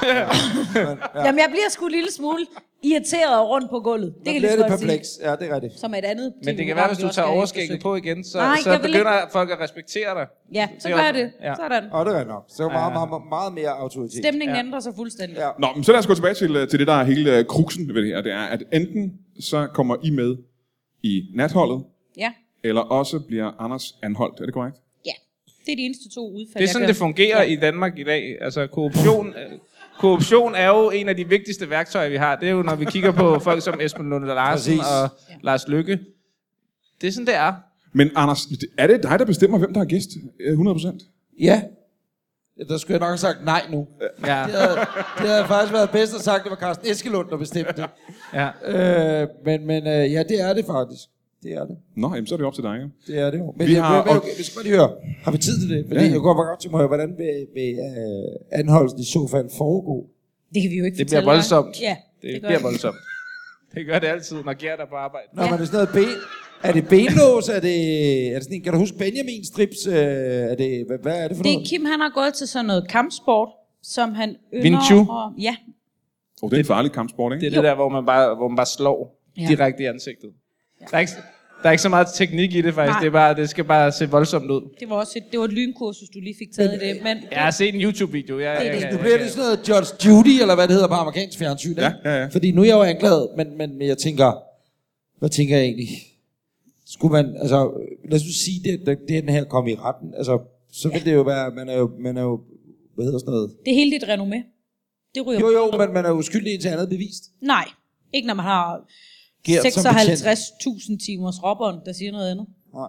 S3: <laughs> Jamen, jeg bliver sgu en lille smule irriteret og rundt på gulvet. Det
S2: Det
S3: kan jeg
S2: bliver
S3: lige
S2: det
S3: så godt sige.
S2: perpleks, ja det er rigtigt.
S3: Som er et andet
S4: Men det kan
S3: tv-program,
S4: være, hvis
S3: vi
S4: du
S3: også
S4: tager
S3: skal
S4: overskægget
S3: eftersøge.
S4: på igen, så,
S3: Nej,
S4: så
S3: jeg vil
S4: begynder folk at respektere dig.
S3: Ja, så
S4: Det er
S3: gør jeg
S4: også-
S3: det.
S4: ja.
S3: Sådan.
S2: Og det er nok, så meget, meget, meget, meget mere autoritet.
S3: Stemningen ændrer sig fuldstændig.
S2: Ja.
S1: Nå, men så lad os gå tilbage til, øh, til det, der er hele øh, kruksen ved det her. Det er, at enten så kommer I med i natholdet,
S3: Ja.
S1: eller også bliver Anders anholdt. Er det korrekt?
S3: Ja. Det er de eneste to udfald,
S4: Det er sådan,
S3: jeg
S4: det fungerer i Danmark i dag. Altså, korruption, øh, korruption er jo en af de vigtigste værktøjer, vi har. Det er jo, når vi kigger
S3: <laughs>
S4: på folk som Esben Lunde Larsen
S2: Præcis.
S4: og Lars Lykke. Det er sådan, det er.
S1: Men Anders, er det dig, der bestemmer, hvem der er gæst? Øh, 100%?
S2: Ja. Ja, Der skulle jeg nok have sagt nej nu.
S4: Ja,
S2: Det havde, det havde faktisk været bedst at sagt, det var Carsten Eskelund, der bestemte det.
S4: ja.
S2: Øh, men men øh, ja, det er det faktisk. Det er det.
S1: Nå, jamen, så er det op til dig, ikke?
S2: Det er det jo. Men
S1: Vi
S2: vi jeg,
S1: har-
S2: har, men, okay, vi skal bare lige høre. Har vi tid til det? Fordi
S1: Ja.
S2: ja. jeg går bare godt til mig, hvordan vil, vil øh, anholdelsen i så fald foregå?
S3: Det kan vi jo ikke
S4: Det bliver
S3: fortælle dig.
S4: voldsomt.
S3: Ja,
S4: Det, det
S3: gør
S4: bliver voldsomt. Det gør det altid, når Gert er på arbejde.
S2: Når ja. man er sådan noget ben... Er det benlås? Er det, er det sådan en, kan du huske Benjamin strips? Øh, er det, hvad, hvad er det for
S3: Det
S2: noget?
S3: er Kim, han har gået til sådan noget kampsport, som han ynder...
S4: Wing Chun?
S3: og- Ja,
S1: Og det er en farlig kampsport,
S4: Det
S1: ikke?
S4: er det der, hvor man bare, hvor man bare slår
S3: Ja.
S4: ja. direkte i ansigtet. Ja. Der, er ikke, der er ikke så meget teknik i det faktisk.
S3: Nej.
S4: Det, er bare, det skal bare se voldsomt ud.
S3: det var også et, det var et lynkursus, du lige fik taget i det. Men
S4: Jeg har set en YouTube-video. Jeg, jeg,
S3: det.
S4: jeg,
S2: Nu
S4: jeg,
S2: bliver det sådan noget Judge Judy, eller hvad det hedder på amerikansk fjernsyn. ikke?
S1: Ja, ja, ja.
S2: Fordi nu er jeg jo anklaget, men, men, men jeg tænker, hvad tænker jeg egentlig? Skulle man, altså, øh, lad os nu sige, det, det, det er den her kom i retten. Altså, så vil det jo være, man er jo, man er jo hvad hedder sådan noget?
S3: det er hele dit renommé. Det ryger
S2: Jo, jo, men man er jo uskyldig indtil andet er bevist.
S3: Nej, ikke når man har
S2: Gert som
S3: 56.000 timers robberen, der siger noget andet.
S2: Nej.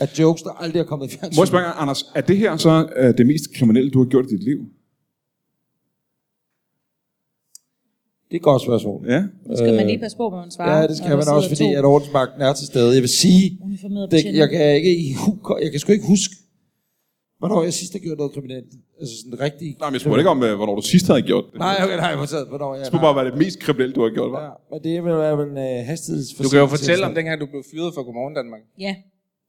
S2: At jokes, der aldrig er kommet i fjernsyn.
S1: Må jeg spørge, Anders, er det her så øh, det mest kriminelle, du har gjort i dit liv?
S2: Det er et godt spørgsmål.
S1: Ja.
S3: Nu skal øh, man lige passe på, hvad man svarer.
S2: Ja, det skal
S3: når
S2: man
S3: der
S2: også,
S3: sidder
S2: fordi
S3: to
S2: at ordensmagten er til stede. Jeg vil sige,
S3: uniformerede
S2: det,
S3: betjente.
S2: jeg, kan ikke, i hu- jeg kan sgu ikke huske, hvornår jeg sidst har gjort noget kriminelt. Altså sådan rigtig...
S1: Nej, men jeg spurgte ikke om, øh, hvornår du sidst havde gjort det.
S2: Nej, okay, nej, hvornår, hvornår jeg...
S1: Det skulle bare være det mest kriminelle, du har gjort, var?
S2: Ja, men det vil være vel en øh, hastighedsforsikring.
S4: du kan jo fortælle om dengang, du blev fyret for Godmorgen Danmark.
S3: Ja.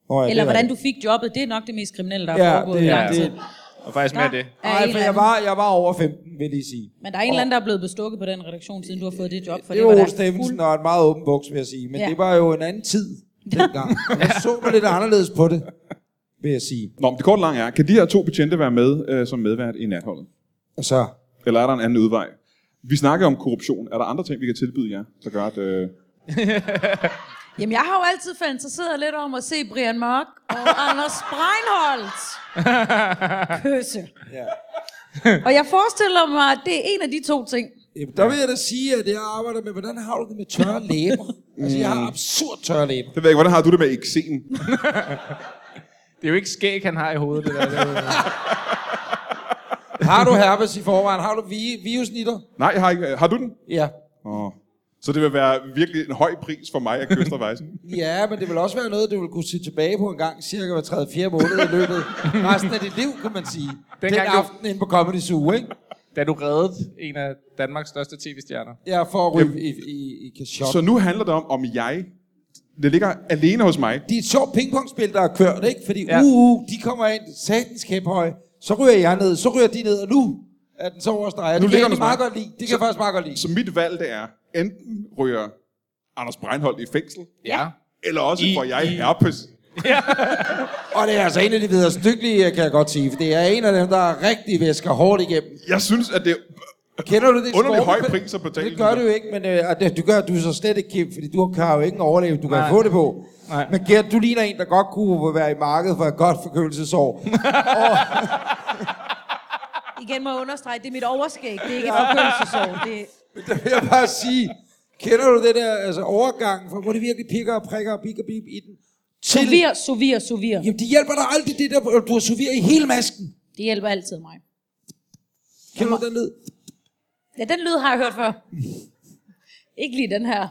S2: Oh, ja,
S3: Eller hvordan du fik jobbet, det er nok det mest kriminelle, der er
S2: Ja,
S3: foregået
S2: det-
S3: i lang
S2: det-
S3: tid.
S4: Og faktisk
S3: Der
S4: med det.
S3: er en
S2: Nej, for
S3: eller
S2: jeg
S3: anden.
S2: var, jeg var over 15, vil jeg lige sige.
S3: Men der er en eller anden, der er blevet bestukket på den redaktion, siden du har fået det job. For
S2: Det
S3: det,
S2: var
S3: var
S2: Ole
S3: da
S2: Steffensen
S3: fuld-
S2: og en meget åben buks, vil jeg sige. Men
S3: Ja.
S2: det var jo en anden tid
S3: <laughs>
S2: dengang. Jeg så mig lidt anderledes på det, vil jeg sige.
S1: Nå, men det korte og lange er, kan de her to betjente være med øh, som medvært i natholdet?
S2: Og så,
S1: Eller er der en anden udvej? Vi snakker om korruption. Er der andre ting, vi kan tilbyde jer, der gør, at... Øh...
S3: Jamen, jeg har jo altid fantaseret lidt om at se
S2: <laughs>
S3: Brian Mørk og Anders Breinholt kysse.
S2: ja.
S3: Og jeg forestiller mig, at det er en af de to ting.
S2: Jamen, der vil jeg da sige, at jeg arbejder med, hvordan har du det med
S3: <laughs>
S2: tørre læber? altså, jeg har absurd tørre læber.
S1: Det ved jeg ikke, hvordan har du det med eksem?
S4: Det er jo ikke skæg, han har i hovedet. Det der. Det er jo-
S3: Mm.
S2: Har du herpes i forvejen? Har du vi virusnitter?
S1: Nej, jeg har ikke. Har du den?
S2: Ja.
S1: Oh. Så det vil være virkelig en høj pris for mig at kysse dig, Vejsen.
S2: Ja, men det vil også være noget, du vil kunne se tilbage på en gang, cirka hver 3-4 måneder i løbet. Resten af dit liv, kan man sige. Den, Den
S4: Dengang du-
S2: aften inde på Comedy Zoo, ikke?
S4: da du reddede en af Danmarks største tv-stjerner.
S2: Ja, for at ryge i, i, i kashot.
S1: <laughs> Så nu handler det om, om jeg... Det ligger alene hos mig.
S2: Det er et sjovt pingpongspil, der er kørt, ikke? Fordi ja.
S4: Ja.
S2: uh, uh, de kommer ind, satens kæphøje, så ryger jeg ned, så ryger de ned, og nu er den så overstreget.
S1: Nu
S2: det kan jeg
S1: ligger den
S2: egentlig meget
S1: hos
S2: godt lide. Det kan jeg faktisk meget godt lide.
S1: Så mit valg det er, enten ryger Anders Breinholt i fængsel,
S4: Ja.
S1: eller også
S4: I-
S1: får jeg
S4: I-
S1: herpes.
S2: Og det er altså en af de videre stykkelige, kan jeg godt sige. For det er en af dem, der rigtig væsker hårdt igennem.
S1: Jeg synes, at det...
S2: Kender du det?
S1: Underlig
S2: skorpe-
S1: høj pris at betale.
S2: Det gør du jo ikke, men øh, og det, du gør du er så slet ikke, Kim, fordi du har jo ikke en overlevelse, du kan
S4: Nej.
S2: få det på.
S4: Nej.
S2: Men Gert, du ligner en, der godt kunne være i markedet for et godt
S1: <laughs>
S2: forkølelsesår.
S3: Igen må jeg understrege, det er mit overskæg. Det er ikke et forkølelsesår. Det,
S2: Der vil jeg bare sige, kender du det der altså, overgang, fra, hvor det virkelig pikker og prikker og bikker bip i den? Til,
S3: sovir, sovir, sovir.
S2: jamen, det hjælper dig aldrig, det der, du har suvir i hele masken.
S3: Det hjælper altid mig.
S2: Kender du den lyd?
S3: Ja, den lyd har jeg hørt før. Ikke lige den her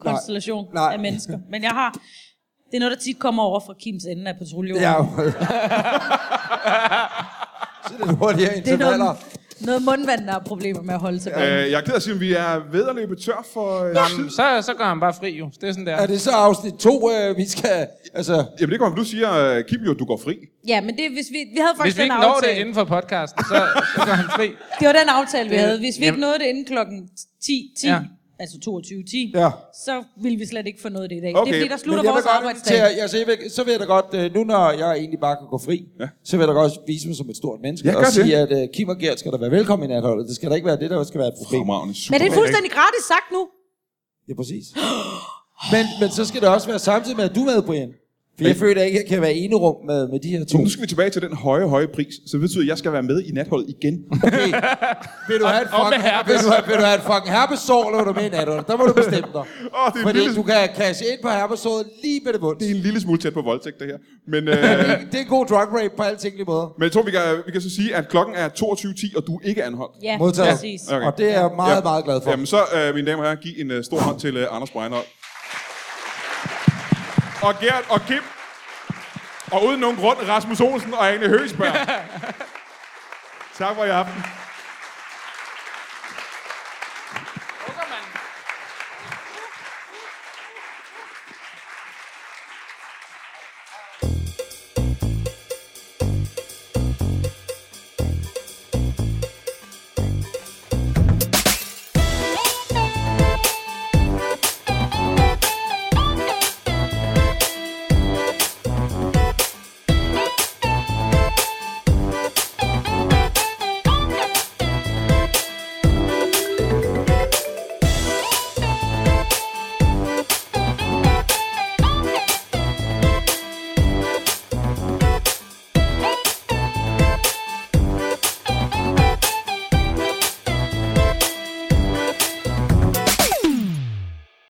S3: konstellation nej,
S2: Nej.
S3: nej. af mennesker. Men jeg har... Det er noget, der tit kommer over fra Kims ende af patruljen. <laughs>
S2: Ja. Så det er hurtigere
S3: det er
S2: intervaller.
S3: noget, noget mundvand, der har problemer med at holde sig. Ja.
S1: Øh, jeg er ked af at sige, at vi er ved at løbe tør for... Øh,
S4: Jamen, så, så går han bare fri, jo. Det er sådan der.
S2: Er det så afsnit to, øh, vi skal... Altså,
S1: jamen det kommer, du siger, øh, Kim, jo, du går fri.
S3: ja, men det, hvis vi, vi havde faktisk
S4: Hvis vi ikke
S3: den
S4: når
S3: aftale.
S4: det inden for podcasten, så, <laughs> så går han fri.
S3: Det var den aftale, vi
S4: Det-
S3: havde. Hvis vi ikke
S4: Jamen-
S3: nåede det inden klokken 10, 10 ja.
S4: Ja.
S3: altså 22.10,
S2: Ja.
S3: ja. så ville vi slet ikke få noget det i dag.
S1: Okay,
S3: Det er fordi, der
S2: men
S3: slutter
S2: jeg vil
S3: vores
S2: godt
S3: arbejdsdag.
S2: invitere- altså, jeg vil, så vil jeg da godt, øh, nu når jeg egentlig bare kan gå fri, ja. så vil jeg da godt vise mig som et stort menneske
S1: Ja,
S2: og
S1: gør det.
S2: sige, at øh, Kim og Gert skal da være velkommen i natholdet. Det skal da ikke være det, der skal være et problem.
S1: Fremragende,
S3: Men
S1: super.
S3: det er fuldstændig gratis sagt nu.
S2: Ja, præcis. Men, men så skal det også være samtidig med, at du er med, Brian. For jeg føler ikke, at jeg kan være enerum med, med de her to.
S1: Nu skal vi tilbage til den høje, høje pris, så det betyder, at jeg skal være med i natholdet <laughs> igen.
S2: Okay. Vil du have et
S4: Og- og med
S2: fucking,
S4: herpes.
S2: vil du have, vil du have et fucking herpesår, eller vil du med en natholdet? Der må du bestemme dig.
S1: <laughs> Åh, det er
S2: Fordi
S1: vildt.
S2: du kan cashe ind på herpesåret lige med det bunds.
S1: Det er en lille smule tæt på voldtægt, det her. Men,
S2: Det
S1: øh, <laughs>
S2: er- det er en god drug rape på alle tænkelige måder.
S1: men jeg tror, vi kan, vi kan så sige, at klokken er 22.10, og du er ikke anholdt.
S3: Ja,
S2: Modtaget.
S3: præcis.
S1: Okay.
S2: Og det er jeg meget, meget glad for.
S1: Jamen så, øh, mine damer og herrer, giv en øh, stor hånd til øh, Anders Breinholt. Og Gert og Kim.
S2: <laughs>
S1: Og uden nogen grund, Rasmus Olsen og Ane Høgsberg. tak for i aften.